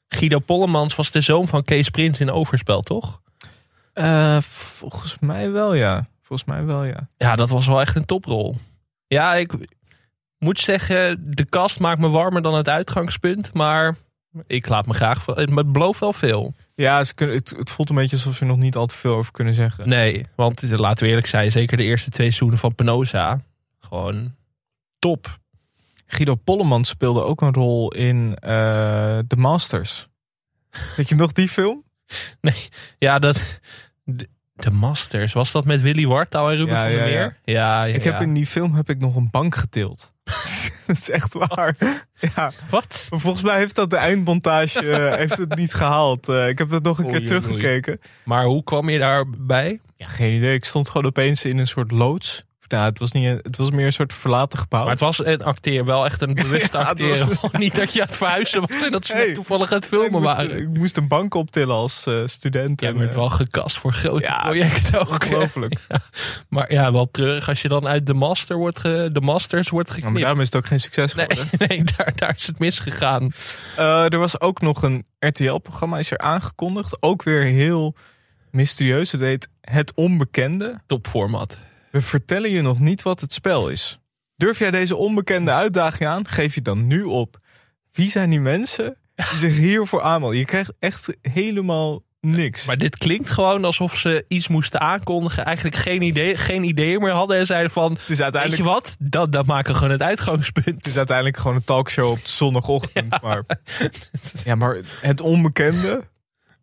Guido Pollemans was de zoon van Kees Prins in Overspel, toch?
Eh, volgens mij wel, ja. Volgens mij wel, ja.
Ja, dat was wel echt een toprol. Ja, ik moet zeggen, de kast maakt me warmer dan het uitgangspunt. Maar ik laat me graag... ver- Het belooft wel veel.
Ja, ze kunnen, het, het voelt een beetje alsof ze er nog niet al te veel over kunnen zeggen.
Nee, want eh, laten we eerlijk zijn. Zeker de eerste twee seizoenen van Penosa. Gewoon top.
Guido Pollemans speelde ook een rol in eh The Masters. Weet je nog die film?
Ja, dat... De, de Masters. Was dat met Willy Wartouw en Ruben
Ja,
van der
ja, ja.
Meer? Ja, ja,
Ik heb
ja.
in die film heb ik nog een bank getild. dat is echt waar. Ja,
Wat?
maar volgens mij heeft dat de eindmontage eh, heeft het niet gehaald. Eh, ik heb dat nog een
Oei,
keer
oei,
teruggekeken.
Maar hoe kwam je daarbij?
Ja, geen idee. Ik stond gewoon opeens in een soort loods. Of Nou, het was, niet, een- het was meer een soort verlaten gebouw.
Maar het was een acteer, wel echt een bewust
Ja, het
acteren.
was-
Gewoon niet dat je aan het verhuizen was en dat ze
Hey,
net toevallig aan het
ik,
filmen
moest,
waren.
ik moest een bank optillen als eh, student.
Jij
En,
bent
eh,
wel gekast voor grote
ja,
projecten ook. hè.
Ongelooflijk.
Maar ja, wel treurig als je dan uit de, master wordt ge- de Masters wordt
Ja, maar
geknipt.
daarom is het ook geen succes geworden.
Nee, nee daar, daar is het misgegaan.
Eh, er was ook nog een RTL-programma, is er aangekondigd. Ook weer heel mysterieus. Het heet Het Onbekende.
Topformat.
We vertellen je nog niet wat het spel is. Durf jij deze onbekende uitdaging aan? Geef je dan nu op. Wie zijn die mensen die zich hiervoor aanmelden? Je krijgt echt helemaal niks.
Maar dit klinkt gewoon alsof ze iets moesten aankondigen. Eigenlijk geen idee, geen idee meer hadden. En zeiden van,
het, is
weet
uiteindelijk,
je wat? Dat, dat maken we gewoon het
het is
uitgangspunt.
uiteindelijk gewoon een talkshow op de zondagochtend. Maar, ja, maar het onbekende.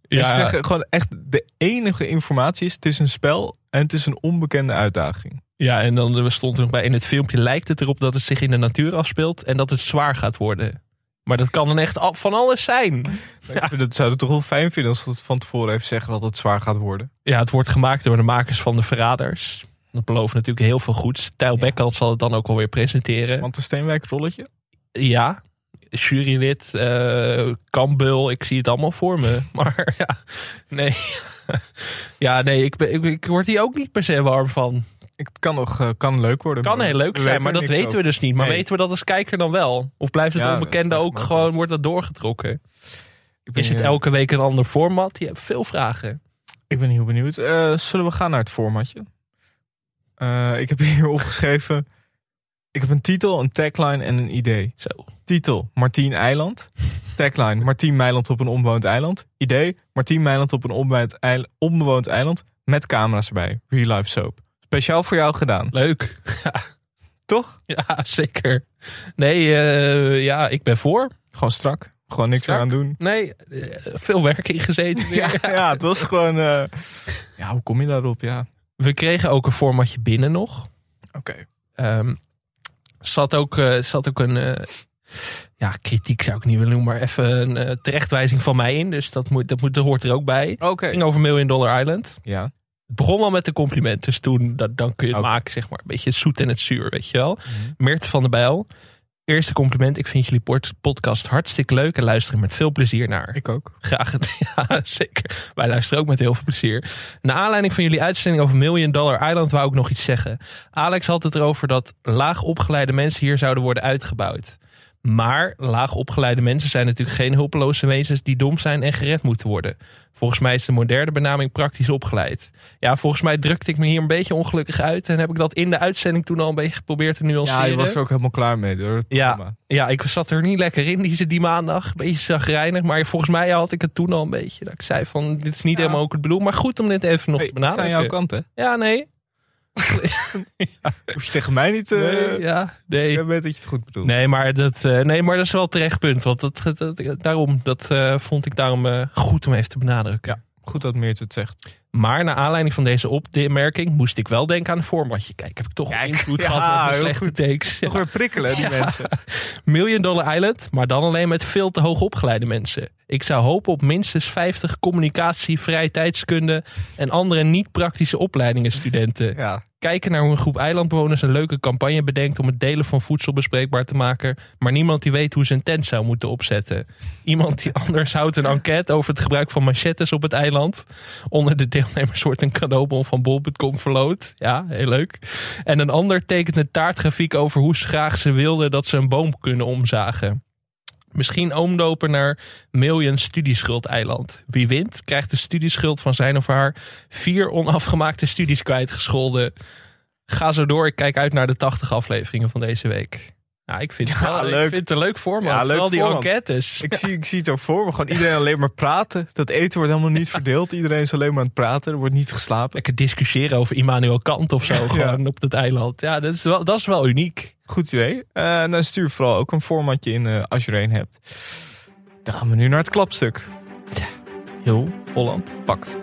Ja. Ze zeggen gewoon echt de enige informatie is: het is een spel en het is een onbekende uitdaging.
Ja, en dan eh, stond er nog bij in het filmpje lijkt het erop dat het zich in de natuur afspeelt en dat het zwaar gaat worden. Maar dat kan dan echt al- van alles zijn.
Ik vind het, zou het toch wel fijn vinden als ze het van tevoren even zeggen dat het zwaar gaat worden.
Ja, het wordt gemaakt door de makers van De Verraders. Dat belooft natuurlijk heel veel goeds. Tijl Bekkant zal het dan ook alweer presenteren.
Want de Steenwijk rolletje?
Ja, jurylid, eh Kambul, ik zie het allemaal voor me. Maar ja, nee. Ja, nee, ik, ben, ik, ik word hier ook niet per se warm van.
Het kan nog eh, kan leuk worden.
Kan
maar
heel
we
leuk zijn,
weten
maar
er
dat
niks
weten we
over.
dus niet. Maar
Nee.
weten we dat als kijker dan wel? Of blijft het
Ja, dat
onbekende
vraag ik
ook
me ook
gewoon, wordt dat doorgetrokken?
Ik ben
Is het
heel-
elke week een ander format? Je hebt veel vragen.
Ik ben heel benieuwd. Eh, zullen we gaan naar het formatje? Eh, ik heb hier opgeschreven. Ik heb een titel, een tagline en een idee.
Zo.
Titel: Martien Eiland. Tagline: Martien Meiland op een onbewoond eiland. Idee: Martien Meiland op een onbewoond eil- onbewoond eiland. Met camera's erbij. Real life soap. Speciaal voor jou gedaan.
Leuk.
Toch?
Ja, zeker. Nee, eh, ja, ik ben voor.
Gewoon strak. Gewoon niks
Strak.
meer aan doen.
Nee, eh, veel werk ingezeten. weer.
Ja, ja, het was gewoon... eh, ja, hoe kom je daarop? Ja,
We kregen ook een formatje binnen nog.
oké.
Ehm, zat, ook, eh, zat ook een. eh, ja, kritiek zou ik niet willen noemen, maar even een eh, terechtwijzing van mij in. Dus dat, moet, dat, moet, dat hoort er ook bij.
Oké.
Het ging over Million Dollar Island.
Ja.
Het begon wel met een compliment, dus toen dat, dan kun je het
Oké.
maken, zeg maar. Een beetje het zoet en het zuur, weet je wel. Meert van der Bijl. Eerste compliment, ik vind jullie port- podcast hartstikke leuk en luister er met veel plezier naar.
Ik ook.
Graag het. Ja, zeker. Wij luisteren ook met heel veel plezier. Naar aanleiding van jullie uitzending over Million Dollar Island wou ik nog iets zeggen. Alex had het erover dat laag opgeleide mensen hier zouden worden uitgebouwd. Maar laag opgeleide mensen zijn natuurlijk geen hulpeloze wezens die dom zijn en gered moeten worden. Volgens mij is de moderne benaming praktisch opgeleid. Ja, volgens mij drukte ik me hier een beetje ongelukkig uit. En heb ik dat in de uitzending toen al een beetje geprobeerd te nuanceren.
Ja, je was er ook helemaal klaar mee. Door het
Ja,
programma.
ja, ik zat er niet lekker in die, die maandag. Een beetje zagrijnig. Maar volgens mij had ik het toen al een beetje. Dat ik zei van, dit is niet
Ja.
helemaal ook het bedoel. Maar goed om dit even nog
Hey,
te
het zijn
benadrukken.
jouw kant, hè?
Ja, nee.
Hoef je tegen mij niet te...
nee ja, nee.
Ik weet dat je het goed bedoelt.
Nee maar, dat, eh, nee, maar dat is wel een terecht punt. Want dat, dat- dat- daarom, dat eh, vond ik daarom eh, goed om even te benadrukken.
Goed dat Meert het zegt.
Maar naar aanleiding van deze opmerking moest ik wel denken aan een formatje. Kijk, heb ik toch
Kijk,
invloed
ja,
gehad met mijn
heel
slechte
goed.
takes. Ja.
Toch weer prikkelen, hè, die mensen.
Million Dollar Island, maar dan alleen met veel te hoog opgeleide mensen. Ik zou hopen op minstens 50 communicatie, vrije tijdskunde en andere niet-praktische opleidingen studenten.
Ja.
Kijken naar hoe een groep eilandbewoners een leuke campagne bedenkt om het delen van voedsel bespreekbaar te maken, maar niemand die weet hoe ze een tent zou moeten opzetten. Iemand die anders houdt een enquête over het gebruik van machettes op het eiland. Onder de deelnemers wordt een cadeaubon van bol.com verloot. Ja, heel leuk. En een ander tekent een taartgrafiek over hoe graag ze wilden dat ze een boom kunnen omzagen. Misschien omlopen naar Million Studieschuld-eiland. Wie wint, krijgt de studieschuld van zijn of haar vier onafgemaakte studies kwijtgescholden. Ga zo door, ik kijk uit naar de 80 afleveringen van deze week. Nou, ik vind, het wel- ik
leuk.
vind het een leuk format.
Ja, leuk
Vooral die
format.
enquêtes.
Ik, zie, ik zie het ook voor me. Gewoon iedereen alleen maar praten. Dat eten wordt helemaal niet verdeeld. Iedereen is alleen maar aan het praten. Er wordt niet geslapen.
Lekker discussiëren over Immanuel Kant of zo. Gewoon op dat eiland. Ja, dat is wel, dat is wel uniek.
Goed idee. Eh nou, stuur vooral ook een formatje in eh, als je er een hebt. Dan gaan we nu naar het klapstuk.
Heel
Holland pakt.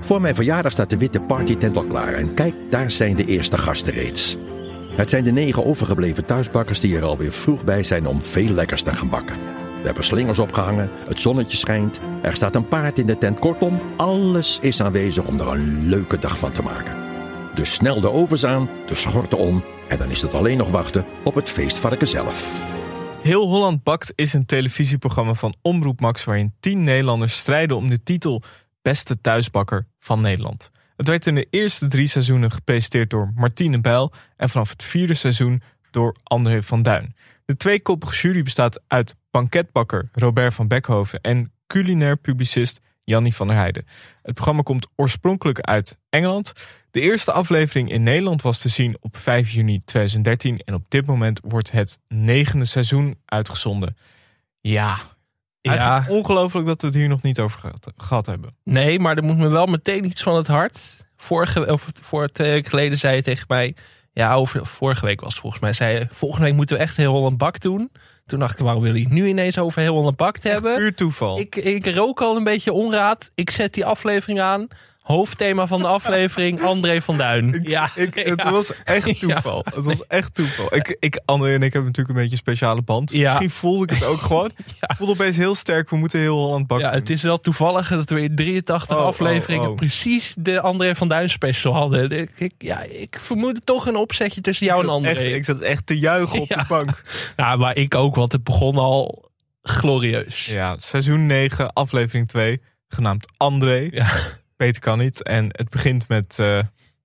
Voor mijn verjaardag staat de witte partytent al klaar en kijk, daar zijn de eerste gasten reeds. Het zijn de negen overgebleven thuisbakkers die er alweer vroeg bij zijn om veel lekkers te gaan bakken. We hebben slingers opgehangen, het zonnetje schijnt, er staat een paard in de tent. Kortom, alles is aanwezig om er een leuke dag van te maken. Dus snel de ovens aan, de schorten om en dan is het alleen nog wachten op het feestvarken zelf.
Heel Holland Bakt is een televisieprogramma van Omroep Max waarin tien Nederlanders strijden om de titel Beste Thuisbakker van Nederland. Het werd in de eerste drie seizoenen gepresenteerd door Martine Bijl en vanaf het vierde seizoen door André van Duin. De tweekoppige jury bestaat uit banketbakker Robert van Beckhoven en culinair publicist Jannie van der Heijden. Het programma komt oorspronkelijk uit Engeland. De eerste aflevering in Nederland was te zien op 5 juni 2013 en op dit moment wordt het negende seizoen uitgezonden. Ja,
Ja.
Eigenlijk ongelooflijk dat we het hier nog niet over gehad, gehad hebben.
Nee, maar er moet me wel meteen iets van het hart. Vorige, of voor twee weken geleden zei je tegen mij. Ja, over, vorige week was het volgens mij. Zei je, volgende week moeten we echt heel Holland Bak doen. Toen dacht ik, waarom wil je het nu ineens over heel Holland Bak te hebben?
Puur toeval.
Ik, ik rook al een beetje onraad. Ik zet die aflevering aan. Hoofdthema van de aflevering, André van Duin.
Ik-
Ja,
ik, het
ja.
was echt toeval. Het was echt toeval. Ik, ik, André en ik hebben natuurlijk een beetje een speciale band. Dus
Ja.
Misschien voelde ik het ook gewoon.
Ja.
Ik voelde opeens heel sterk, we moeten heel Holland bakken.
Ja, het is wel toevallig dat we in 83
Oh,
afleveringen
oh, oh.
precies de André van Duin special hadden. Ik, ik- ja, ik vermoedde toch een opzetje tussen jou en André.
Echt, ik zat echt te juichen op
Ja.
de bank.
Nou, maar ik ook, want het begon al glorieus.
Ja, seizoen 9, aflevering 2, genaamd André.
Ja.
Beter kan niet. En het begint met eh,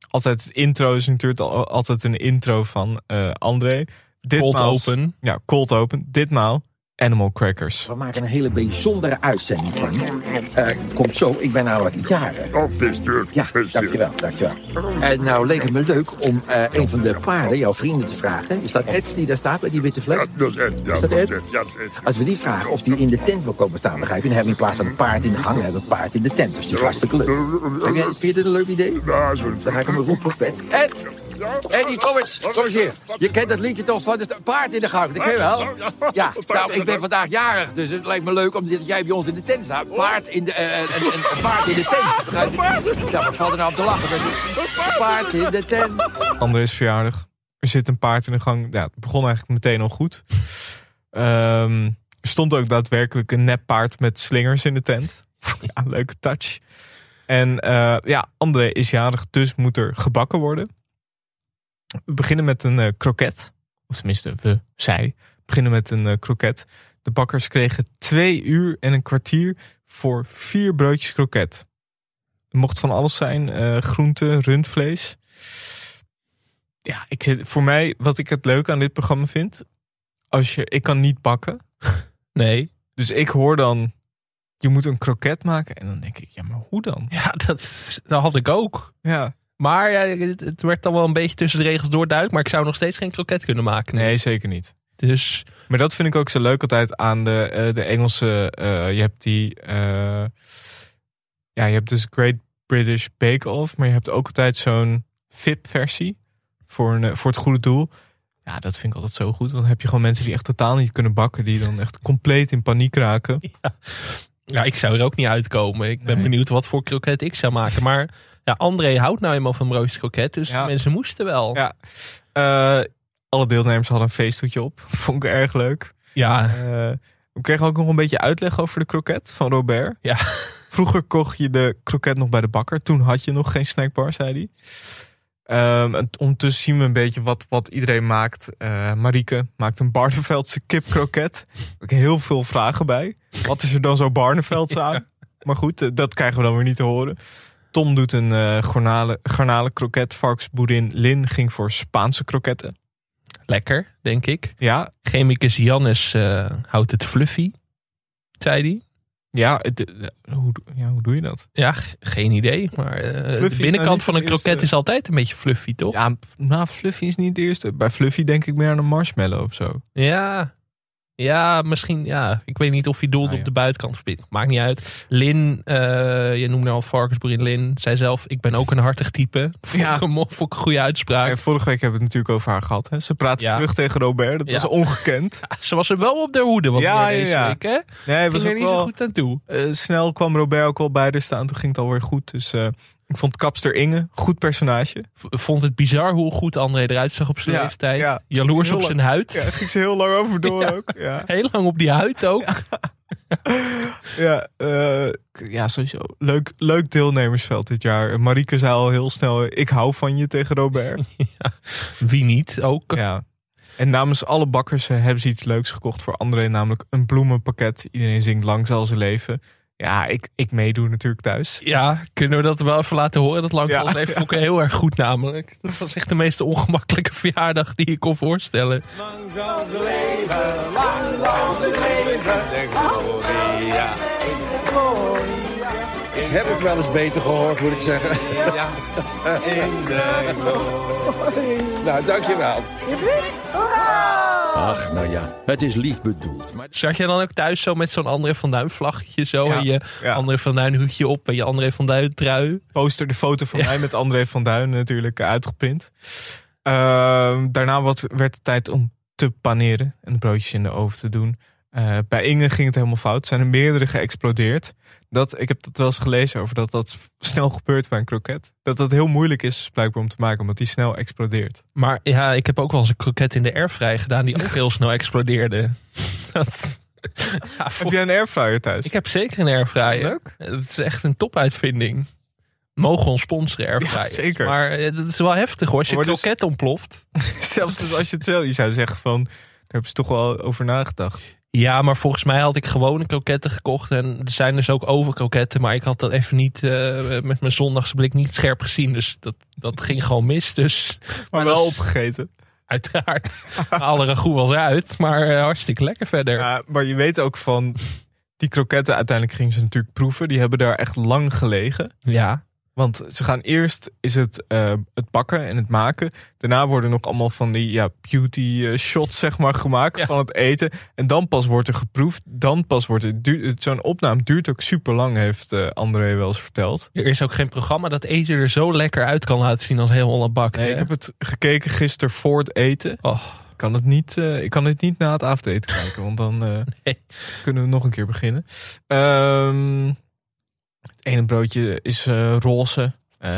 altijd het intro is natuurlijk al- altijd een intro van eh André.
Cold
Ditmaals-
open.
Ja, cold open. Ditmaal Animal Crackers.
We maken een hele bijzondere uitzending van. Eh, komt zo, ik ben namelijk jaren.
Oh,
Of dit Ja, dankjewel, dankjewel. Eh nou leek het me leuk om eh, een van de paarden, jouw vrienden, te vragen. Is dat Ed die daar staat bij die witte vlek?
Dat is Ed. Ja,
Is dat Ed?
Ja, dat is Ed.
Als we die vragen of die in de tent wil komen staan, begrijp je? Dan hebben we in plaats van een paard in de gang, hebben we een paard in de tent. Dus dat is hartstikke leuk. Vind je- Vind je dit een leuk idee?
Ja, zo.
Dan ga ik hem roepen, Ed. Ed! Eddie, kom eens, kom eens hier. Je kent dat liedje toch van het paard in de gang, dat ken je wel? Ja, nou, ik ben vandaag jarig, dus het lijkt me leuk omdat jij bij ons in de tent staat. Paard in de, eh, eh, een, een- een paard in de tent. Begrijp je? Ja, wat valt er nou op te lachen? Een paard in de tent.
André is verjaardag. Er zit een paard in de gang. Ja, het begon eigenlijk meteen al goed. Ehm, er stond ook daadwerkelijk een nep paard met slingers in de tent. ja, leuke touch. En eh, ja, André is jarig, dus moet er gebakken worden. We beginnen met een eh, kroket. Of tenminste, we, zij, beginnen met een eh, kroket. De bakkers kregen twee uur en een kwartier voor vier broodjes kroket. Het mocht van alles zijn, eh groente, rundvlees ja, ik zit, voor mij, wat ik het leuk aan dit programma vind. Als je, ik kan niet bakken.
Nee.
Dus ik hoor dan. Je moet een kroket maken. En dan denk ik, ja, maar hoe dan?
Ja, dat, is- dat had ik ook.
Ja.
Maar ja, het, het werd dan wel een beetje tussen de regels door duidelijk. Maar ik zou nog steeds geen kroket kunnen maken.
Nee, zeker niet.
Dus
Maar dat vind ik ook zo leuk altijd aan de, eh, de Engelse. eh, je hebt die. eh, ja, je hebt dus Great British Bake Off. Maar je hebt ook altijd zo'n VIP-versie. Voor, een, eh, voor het goede doel. Ja, dat vind ik altijd zo goed. Want dan heb je gewoon mensen die echt totaal niet kunnen bakken. Die dan echt compleet in paniek raken.
ja, ik zou er ook niet uitkomen. Ik ben
Nee.
benieuwd wat voor kroket ik zou maken. Maar ja, André houdt nou eenmaal van roostkroket. Dus
Ja.
mensen moesten wel.
Ja. Eh, alle deelnemers hadden een feesthoedje op. Vond ik erg leuk.
ja.
Eh, we kregen ook nog een beetje uitleg over de kroket van Robert.
Ja.
Vroeger kocht je de kroket nog bij de bakker. Toen had je nog geen snackbar, zei hij. Ehm, en ondertussen zien we een beetje wat, wat iedereen maakt. Eh, Marieke maakt een Barneveldse kipkroket. Ook heel veel vragen bij. Wat is er dan zo Barnevelds aan? Maar goed, eh, dat krijgen we dan weer niet te horen. Tom doet een eh garnalen, garnalenkroket. Varkensboerin Lin ging voor Spaanse kroketten.
Lekker, denk ik.
Ja,
Chemicus Jannes eh, houdt het fluffy, zei hij.
Ja, het- de- hoe, do- ja, hoe doe je dat?
Ja, ge- geen idee. Maar eh, de
nou
binnenkant
niet
van een
het
kroket
eerste.
is altijd een beetje fluffy, toch?
Ja, f- nou, Fluffy is niet de eerste. Bij Fluffy denk ik meer aan een marshmallow of zo.
Ja. Ja, misschien. Ja. Ik weet niet of hij doelde
Ah, ja.
op de buitenkant verbindt. Maakt niet uit. Lin, eh, je noemde al varkensboerin Lin. Zij zelf, ik ben ook een hartig type. Vond,
Ja.
ik, een, mo- vond ik een goede uitspraak.
En vorige week hebben we het natuurlijk over haar gehad. Hè? Ze praat
Ja.
terug tegen Robert. Dat
Ja.
was ongekend.
Ja, ze was er wel op de hoede wat
Ja,
meer deze
ja, ja.
week. Hè?
Nee, het was
Ging
ook
er niet
wel,
zo goed aan toe.
eh, snel kwam Robert ook wel bij haar staan. Toen ging het alweer goed. Dus eh, ik vond Kapster Inge, goed personage.
V- Vond het bizar hoe goed André eruit zag op zijn
Ja,
leeftijd.
ja.
Jaloers
Heel
op
lang.
zijn huid.
Ja, daar ging ze heel lang over door
Ja.
ook. Ja,
Heel lang op die huid ook.
ja, eh, k- ja sowieso. Leuk, leuk deelnemersveld dit jaar. Marieke zei al heel snel, ik hou van je tegen Robert.
Wie niet ook.
Ja. En namens alle bakkers eh, hebben ze iets leuks gekocht voor André, namelijk een bloemenpakket. Iedereen zingt lang zal ze leven. Ja, ik, ik meedoe natuurlijk thuis.
Ja, kunnen we dat wel even laten horen? Dat langs
Ja,
ons leven vond ik heel erg goed namelijk. Dat was echt de meest ongemakkelijke verjaardag die ik kon voorstellen.
Ik heb het wel eens beter gehoord, moet ik zeggen. Nou, dankjewel. Ach, nou ja, het is lief bedoeld. Maar
Zat je dan ook thuis zo met zo'n André van Duin vlaggetje zo
Ja,
en je
ja.
André van Duin hoedje op en je André van Duin trui?
Poster de foto van mij met André van Duin natuurlijk eh, uitgeprint. Ehm, daarna wat, werd het tijd om te paneren en de broodjes in de oven te doen. Eh, bij Inge ging het helemaal fout. Zijn er meerdere geëxplodeerd. Dat, ik heb dat wel eens gelezen over dat dat snel gebeurt bij een kroket. Dat dat heel moeilijk is dus blijkbaar om te maken, omdat die snel explodeert.
Maar ja, ik heb ook wel eens een kroket in de airfryer gedaan die ook heel snel explodeerde. Dat, ja,
Heb
voor-
jij een airfryer thuis?
Ik heb zeker een airfryer.
Leuk.
Het is echt een topuitvinding. Mogen ons sponsoren airfryer.
Ja, zeker.
Maar eh, dat is wel heftig hoor. Als je
Maar dus-
kroket ontploft.
Zelfs dus als je het zelf, je zou zeggen van, daar hebben ze toch wel over nagedacht.
Ja, maar volgens mij had ik gewone kroketten gekocht. En er zijn dus ook overkroketten. Maar ik had dat even niet eh, met mijn zondagse blik niet scherp gezien. Dus dat, dat ging gewoon mis. Dus
Maar
dat
wel
is-
opgegeten.
Uiteraard. Alle ragout was eruit, maar eh, hartstikke lekker verder.
Ja, maar je weet ook van die kroketten, uiteindelijk gingen ze natuurlijk proeven. Die hebben daar echt lang gelegen.
Ja.
Want ze gaan eerst is het, eh, het bakken en het maken. Daarna worden nog allemaal van die ja, beauty eh, shots zeg maar, gemaakt
Ja.
van het eten. En dan pas wordt er geproefd. Dan pas wordt het duur- het- Zo'n opname duurt ook super lang, heeft eh, André wel eens verteld.
Er is ook geen programma dat eten er zo lekker uit kan laten zien als heel Holland bakt.
Nee,
hè?
ik heb het gekeken gisteren voor het eten.
Oh,
Ik kan het niet, eh, ik kan het niet na het avondeten kijken, want dan eh,
Nee.
kunnen we nog een keer beginnen. Ehm, het ene broodje is eh, roze. Eh,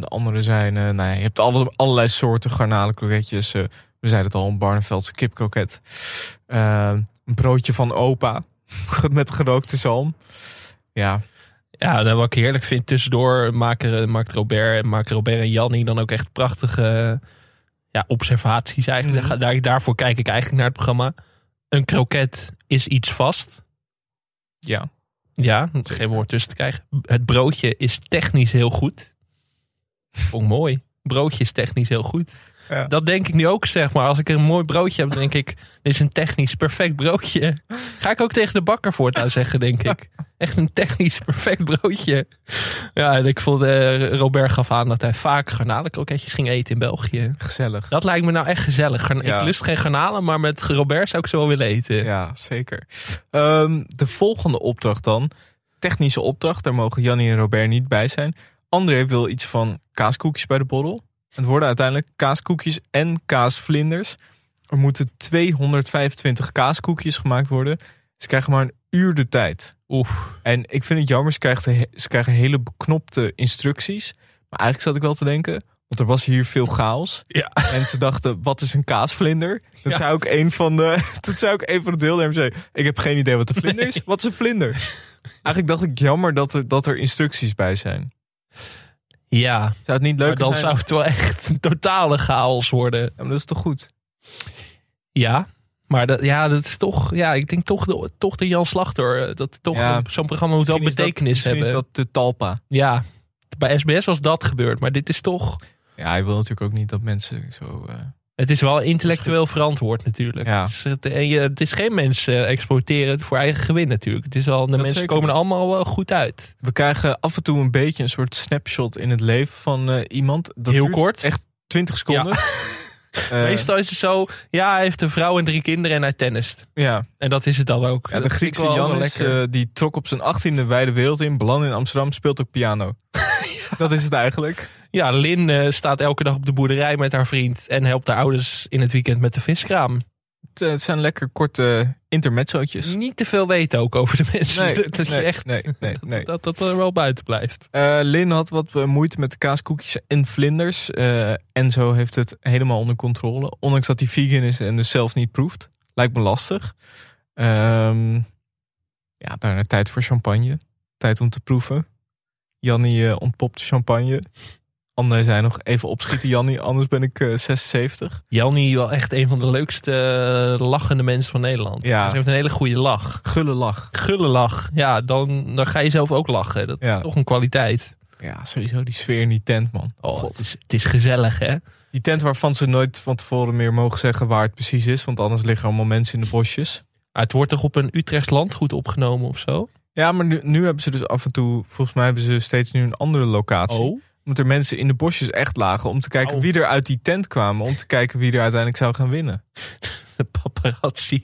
de andere zijn, eh nou, ja, je hebt alle, allerlei soorten garnalenkroketjes. eh, we zeiden het al, een Barneveldse kipkroket. Ehm, een broodje van opa met gerookte zalm. Ja,
ja, dat wat ik heerlijk vind. Tussendoor maken, maakt Robert, maken Robert en Janni dan ook echt prachtige ja, observaties eigenlijk.
Mhm.
Daar, daarvoor kijk ik eigenlijk naar het programma. Een kroket is iets vast.
ja.
Ja, geen woord tussen te krijgen. Het broodje is technisch heel goed. Vond ik mooi. Broodje is technisch heel goed.
Ja.
Dat denk ik nu ook, zeg maar. Als ik een mooi broodje heb, denk ik... Dit is een technisch perfect broodje. Ga ik ook tegen de bakker voortaan zeggen, denk ik. Echt een technisch perfect broodje. Ja, en ik vond... eh, Robert gaf aan dat hij vaak garnalenkroketjes ging eten in België.
gezellig.
Dat lijkt me nou echt gezellig. Garn-
Ja.
Ik lust geen garnalen, maar met Robert zou ik zo wel willen eten.
Ja, zeker. Ehm, de volgende opdracht dan. Technische opdracht. Daar mogen Jannie en Robert niet bij zijn. André wil iets van kaaskoekjes bij de borrel. Het worden uiteindelijk kaaskoekjes en kaasvlinders. Er moeten 225 kaaskoekjes gemaakt worden. Ze krijgen maar een uur de tijd.
Oeh.
En ik vind het jammer, ze krijgen, ze krijgen hele beknopte instructies. Maar eigenlijk zat ik wel te denken, want er was hier veel chaos.
Ja.
Mensen dachten, wat is een kaasvlinder? Dat
Ja.
zou ook een van de, dat zou ook een van de deelnemers zijn. Ik heb geen idee wat een vlinder is. Wat is een vlinder? Eigenlijk dacht ik, jammer dat er, dat er instructies bij zijn.
ja.
Zou het niet
Maar
leuk
dan
zijn?
zou het wel echt een totale chaos worden.
Ja, maar dat is toch goed?
Ja, maar dat, ja, dat is toch. Ja, ik denk toch de, toch de Jan Slachter. eh, Dat toch
Ja.
een- zo'n programma moet wel
Misschien is dat-
betekenis
misschien
hebben.
is dat de talpa.
Ja, bij SBS was dat gebeurd, maar dit is toch.
Ja, hij wil natuurlijk ook niet dat mensen zo... eh,
Het is wel intellectueel
Goed.
verantwoord natuurlijk.
Ja.
Het, is, het- en je, het is geen mensen eh, exploiteren voor eigen gewin natuurlijk. Het is wel, de mensen
zeker
komen er
niet.
allemaal wel goed uit.
We krijgen af en toe een beetje een soort snapshot in het leven van eh, iemand. Dat
Heel
duurt
kort.
Echt 20 seconden. Eh,
Meestal is het zo, ja, hij heeft een vrouw en drie kinderen en hij tennist.
ja.
En dat is het dan ook.
Ja, de
Dat vind ik
Griekse
wel wel
Jannis
lekker.
eh, die trok op zijn achttiende wijde wereld in, belandde in Amsterdam, speelt ook piano. Dat is het eigenlijk.
Ja, Lin eh, staat elke dag op de boerderij met haar vriend en helpt haar ouders in het weekend met de viskraam. Dus
Het, eh, het zijn lekker korte intermezzootjes.
Niet te veel weten ook over de mensen.
Nee,
dat, je
nee,
echt,
nee, nee, nee.
Dat, dat er wel buiten blijft.
Eh, Lin had wat eh, moeite met de kaaskoekjes en vlinders. eh Enzo heeft het helemaal onder controle. Ondanks dat hij vegan is en dus zelf niet proeft. Lijkt me lastig. Ehm, ja, daarna tijd voor champagne. Tijd om te proeven. Jannie eh, ontpopt champagne. André zei nog even opschieten, Jannie, anders ben ik eh, 76.
Janni wel echt een van de leukste eh, lachende mensen van Nederland.
Ja.
Ze heeft een hele goede lach.
Gulle lach.
Gulle lach. Ja, dan, dan ga je zelf ook lachen. Dat
Ja.
is toch een kwaliteit.
Ja, sowieso die sfeer in die tent, man.
Oh, het, is, het is gezellig, hè?
Die tent waarvan ze nooit van tevoren meer mogen zeggen waar het precies is. Want anders liggen allemaal mensen in de bosjes.
Ah, Het wordt toch op een Utrecht landgoed opgenomen of zo?
Ja, maar nu, nu hebben ze dus af en toe... Volgens mij hebben ze steeds nu een andere locatie. Omdat er mensen in de bosjes echt lagen. Om te kijken
Oh.
wie er uit die tent kwamen. Om te kijken wie er uiteindelijk zou gaan winnen.
de Oh. paparazzi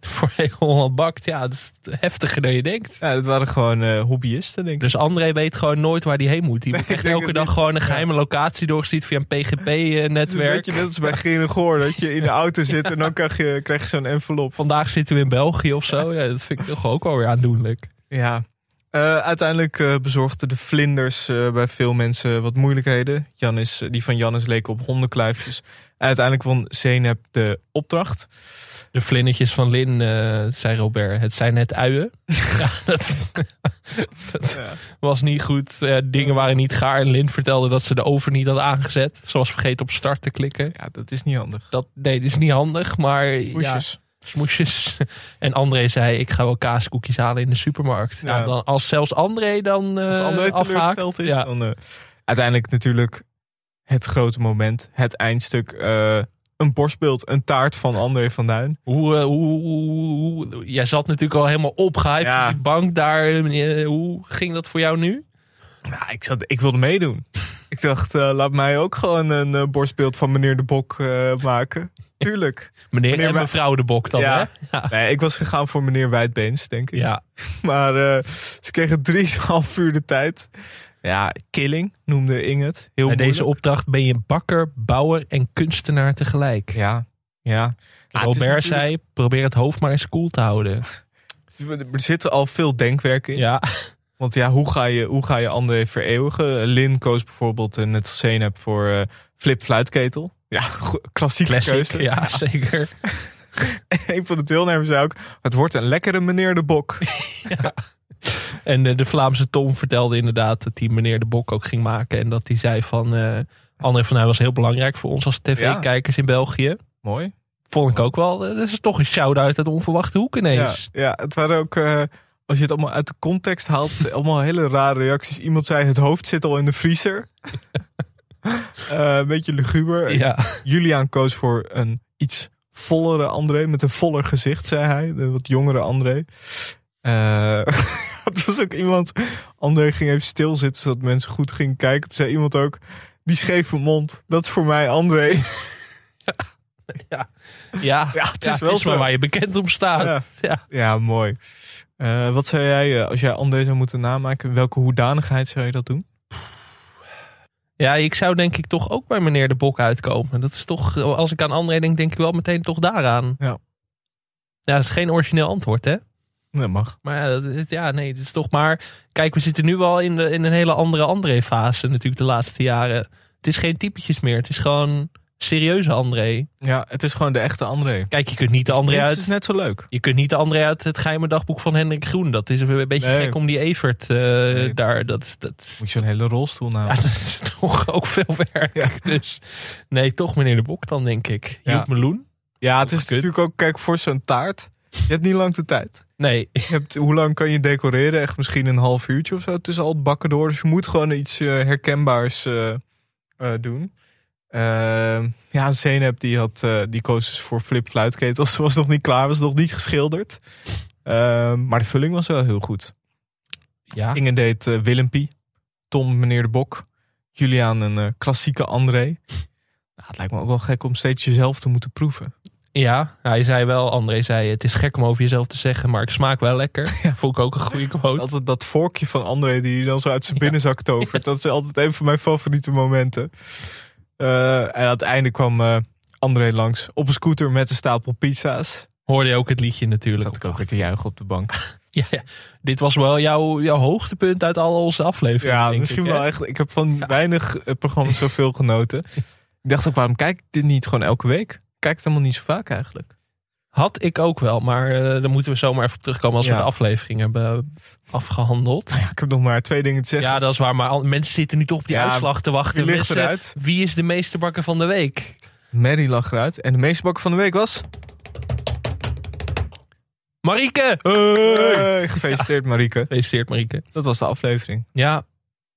voor heel Holland bakt. Ja, dat is heftiger dan je denkt.
Ja, dat waren gewoon eh, hobbyisten, denk ik.
Dus André weet gewoon nooit waar hij heen moet. Die
Nee,
wordt
ik
echt
denk
elke
het
dag
niet.
gewoon een
Ja.
geheime locatie doorgestuurd via een
Het is een
PGP-netwerk.
beetje net als bij Gerengoor. Dat je in de auto zit en dan krijg je, krijg je zo'n envelop.
Vandaag zitten we in België of zo. Ja, dat vind ik toch ook wel weer aandoenlijk.
Ja. Eh, uiteindelijk eh, bezorgden de vlinders eh, bij veel mensen wat moeilijkheden. Janis, eh, die van Jannis leken op hondenkluifjes. En uiteindelijk won Zeynep de opdracht.
De vlindertjes van Lin, eh, zei Robert. Het zijn net uien. ja, dat, dat
Ja.
was niet goed. Eh, dingen waren niet gaar. En Lin vertelde dat ze de oven niet had aangezet. Ze was vergeten op start te klikken.
Ja, dat is niet handig.
Dat, nee, dat is niet handig, maar... Ja,
Poesjes.
smoesjes. En André zei, ik ga wel kaaskoekjes halen in de supermarkt. Ja.
Ja.
dan, als zelfs André dan eh
Als André
afhaakt,
teleurgesteld is,
ja.
dan... eh, uiteindelijk natuurlijk het grote moment. Het eindstuk. eh, een borstbeeld, een taart van André van Duin.
Hoe, eh, hoe, hoe- hoe- hoe- jij zat natuurlijk al helemaal opgehyped
Ja.
op die bank daar. Eh, Hoe ging dat voor jou nu?
Nou, ik, zat, ik wilde meedoen. Ik dacht, eh, laat mij ook gewoon een eh, borstbeeld van meneer de Bok eh, maken. Tuurlijk.
Meneer,
Meneer
en
Wa-
mevrouw de Bok dan,
Ja.
hè? Ja.
Nee, ik was gegaan voor meneer Wijdbeens, denk ik.
ja.
Maar eh, ze kregen drieënhalf uur de tijd. Ja, killing noemde Inge het. Heel
Bij deze
moeilijk.
opdracht ben je bakker, bouwer en kunstenaar tegelijk.
Ja, ja. Ah, het is
Robert zei, probeer het hoofd maar eens cool te houden.
natuurlijk- Er zitten al veel denkwerken in.
Ja,
Want ja, hoe ga, je, hoe ga je André vereeuwigen? Lin koos bijvoorbeeld, eh, net als Zeynep, voor eh, Flip Fluitketel. Ja, go- klassieke
classic.
keuze.
Ja, zeker.
Een van de deelnemers zei ook, het wordt een lekkere meneer de Bok.
En eh, de Vlaamse Tom vertelde inderdaad dat die meneer de Bok ook ging maken. En dat hij zei van, eh André van Duin was heel belangrijk voor ons als tv-kijkers in België.
Mooi.
Vond ik ook wel. eh, Dat is toch een shout-out uit onverwachte hoek
Ja,
ineens.
ja, het waren ook, eh, als je het allemaal uit de context haalt, allemaal hele rare reacties. Iemand zei, het hoofd zit al in de vriezer. Eh, een beetje luguber.
Ja,
Julian koos voor een iets vollere André. Met een voller gezicht, zei hij. De wat jongere André. Eh, het was ook iemand... André ging even stilzitten, zodat mensen goed gingen kijken. Toen zei iemand ook... Die scheve mond, dat is voor mij André.
ja.
Ja, het is wel
maar
zo.
waar je bekend om staat. Ja.
Ja, mooi. Eh, wat zou jij, eh, als jij André zou moeten namaken... welke hoedanigheid zou je dat doen?
Ja, ik zou denk ik toch ook bij meneer de Bok uitkomen. Dat is toch, als ik aan André denk, denk ik wel meteen toch daaraan.
Ja.
Ja, dat is geen origineel antwoord, hè?
Dat mag.
Maar ja, dat is, ja nee, het is toch maar... Kijk, we zitten nu al in, de, in een hele andere André-fase natuurlijk de laatste jaren. Het is geen typetjes meer. Het is gewoon serieuze André.
Ja, het is gewoon de echte André.
Kijk, je kunt niet de André
Het
uit...
is net zo leuk.
Je kunt niet de André uit het geheime dagboek van Hendrik Groen. Dat is een beetje
Nee.
gek om die Evert eh,
Nee.
daar. Dat, is- dat, is-
Moet je zo'n hele rolstoel
ja,
namen.
dat is toch ook veel werk.
Ja.
Dus nee, toch meneer de Bok dan, denk ik.
Ja.
Joep Meloen?
Ja, het is
Kut.
natuurlijk ook... Kijk, voor zo'n taart... Je hebt niet lang de tijd.
Nee,
Je hebt, hoe lang kan je decoreren? Echt misschien een half uurtje of zo tussen al het bakken door. Dus je moet gewoon iets eh, herkenbaars eh, eh, doen. Ehm, ja, Zeynep die, had, eh, die koos dus voor flip fluitketels. Was nog niet klaar, was nog niet geschilderd. Ehm, maar de vulling was wel heel goed.
ja.
Inge deed eh, Willempie. Tom meneer de Bok. Julian een eh, klassieke André. Nou, het lijkt me ook wel gek om steeds jezelf te moeten proeven.
Ja, hij zei wel, André zei, het is gek om over jezelf te zeggen, maar ik smaak wel lekker. Vond ik ook een goede quote.
Altijd dat vorkje van André die hij dan zo uit zijn binnenzak tovert. Dat is altijd een van mijn favoriete momenten. Eh, en aan het einde kwam eh, André langs op een scooter met een stapel pizza's.
Hoorde je ook het liedje natuurlijk.
Zat ik ook weer te juichen op de bank.
Ja, ja. Dit was wel jouw, jouw hoogtepunt uit al onze afleveringen.
Ja,
denk
misschien
ik, hè?
wel echt. Ik heb van weinig eh, programma's zoveel genoten. Ik dacht ook, waarom kijk ik dit niet gewoon elke week? Ik Kijk het helemaal niet zo vaak eigenlijk.
Had ik ook wel, maar eh, daar moeten we zomaar even op terugkomen als
Ja.
we de aflevering hebben afgehandeld.
Nou Ja, ik heb nog maar twee dingen te zeggen.
Ja, dat is waar, maar al- mensen zitten nu toch op die
Ja,
uitslag te wachten.
wie ligt
Mensen,
eruit?
Wie is de meesterbakker van de week?
Mary lag eruit. En de meesterbak van de week was...
Marieke!
Hey, gefeliciteerd Marieke.
Gefeliciteerd Marieke.
Dat was de aflevering.
Ja,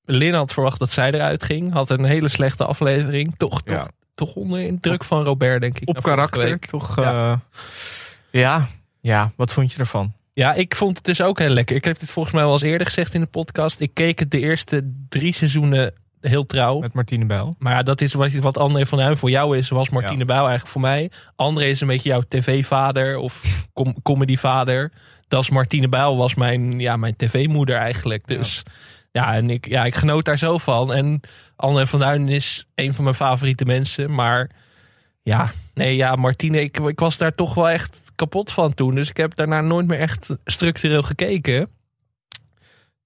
Lin had verwacht dat zij eruit ging. Had een hele slechte aflevering. Toch, toch,
Ja.
toch onder indruk van Robert, denk ik.
op
na vorige
karakter.
week.
Toch, eh,
Ja.
ja. ja. Ja, wat vond je ervan?
Ja, ik vond het dus ook heel lekker. Ik heb dit volgens mij wel eens eerder gezegd in de podcast. Ik keek het de eerste drie seizoenen heel trouw.
Met Martine Bijl.
Maar ja, dat is wat, wat André van Duin voor jou is. Was Martine
Ja.
Bijl eigenlijk voor mij. André is een beetje jouw tv-vader of com comedy-vader. Dat is Martine Bijl was mijn, ja, mijn tv-moeder eigenlijk. Dus ja, en ik, ja, ik genoot daar zo van. En André van Duin is een van mijn favoriete mensen. Maar ja, nee, ja, Martine, ik, ik was daar toch wel echt kapot van toen. Dus ik heb daarna nooit meer echt structureel gekeken.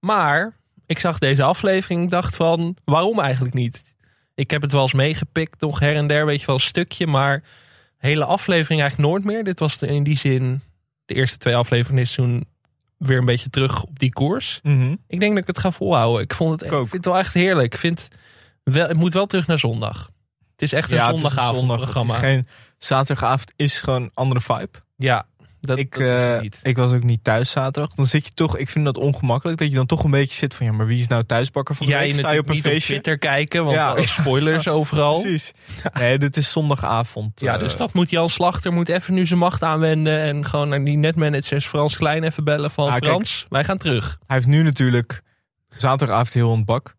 Maar ik zag deze aflevering en dacht van, waarom eigenlijk niet? Ik heb het wel eens meegepikt, nog her en der, weet je wel, een stukje. Maar hele aflevering eigenlijk nooit meer. Dit was de- in die zin, de eerste twee afleveringen is toen weer een beetje terug op die koers.
Mhm.
Ik denk dat ik het ga volhouden. Ik, vond het, ik
ook.
vind het wel echt heerlijk. Ik vind wel, het moet wel terug naar zondag. Het is echt een
Ja, het is een zondag. Het is
zondagavondprogramma.
geen, zaterdagavond is gewoon een andere vibe.
Ja, Dat,
ik,
dat is het
eh,
niet.
ik was ook niet thuis zaterdag. Dan zit je toch, ik vind dat ongemakkelijk. Dat je dan toch een beetje zit van ja, maar wie is nou thuisbakker van de
Jij
week? Sta je
natuurlijk
op een
niet op
feestje?
Twitter kijken, want
Ja.
alle spoilers overal.
Precies. Nee, dit is zondagavond.
Ja,
eh,
dus dat moet Jan Slachter moet even nu zijn macht aanwenden. En gewoon naar die netmanagers Frans Klein even bellen van
Ah, kijk.
Frans, wij gaan terug.
Hij heeft nu natuurlijk zaterdagavond heel ontbak.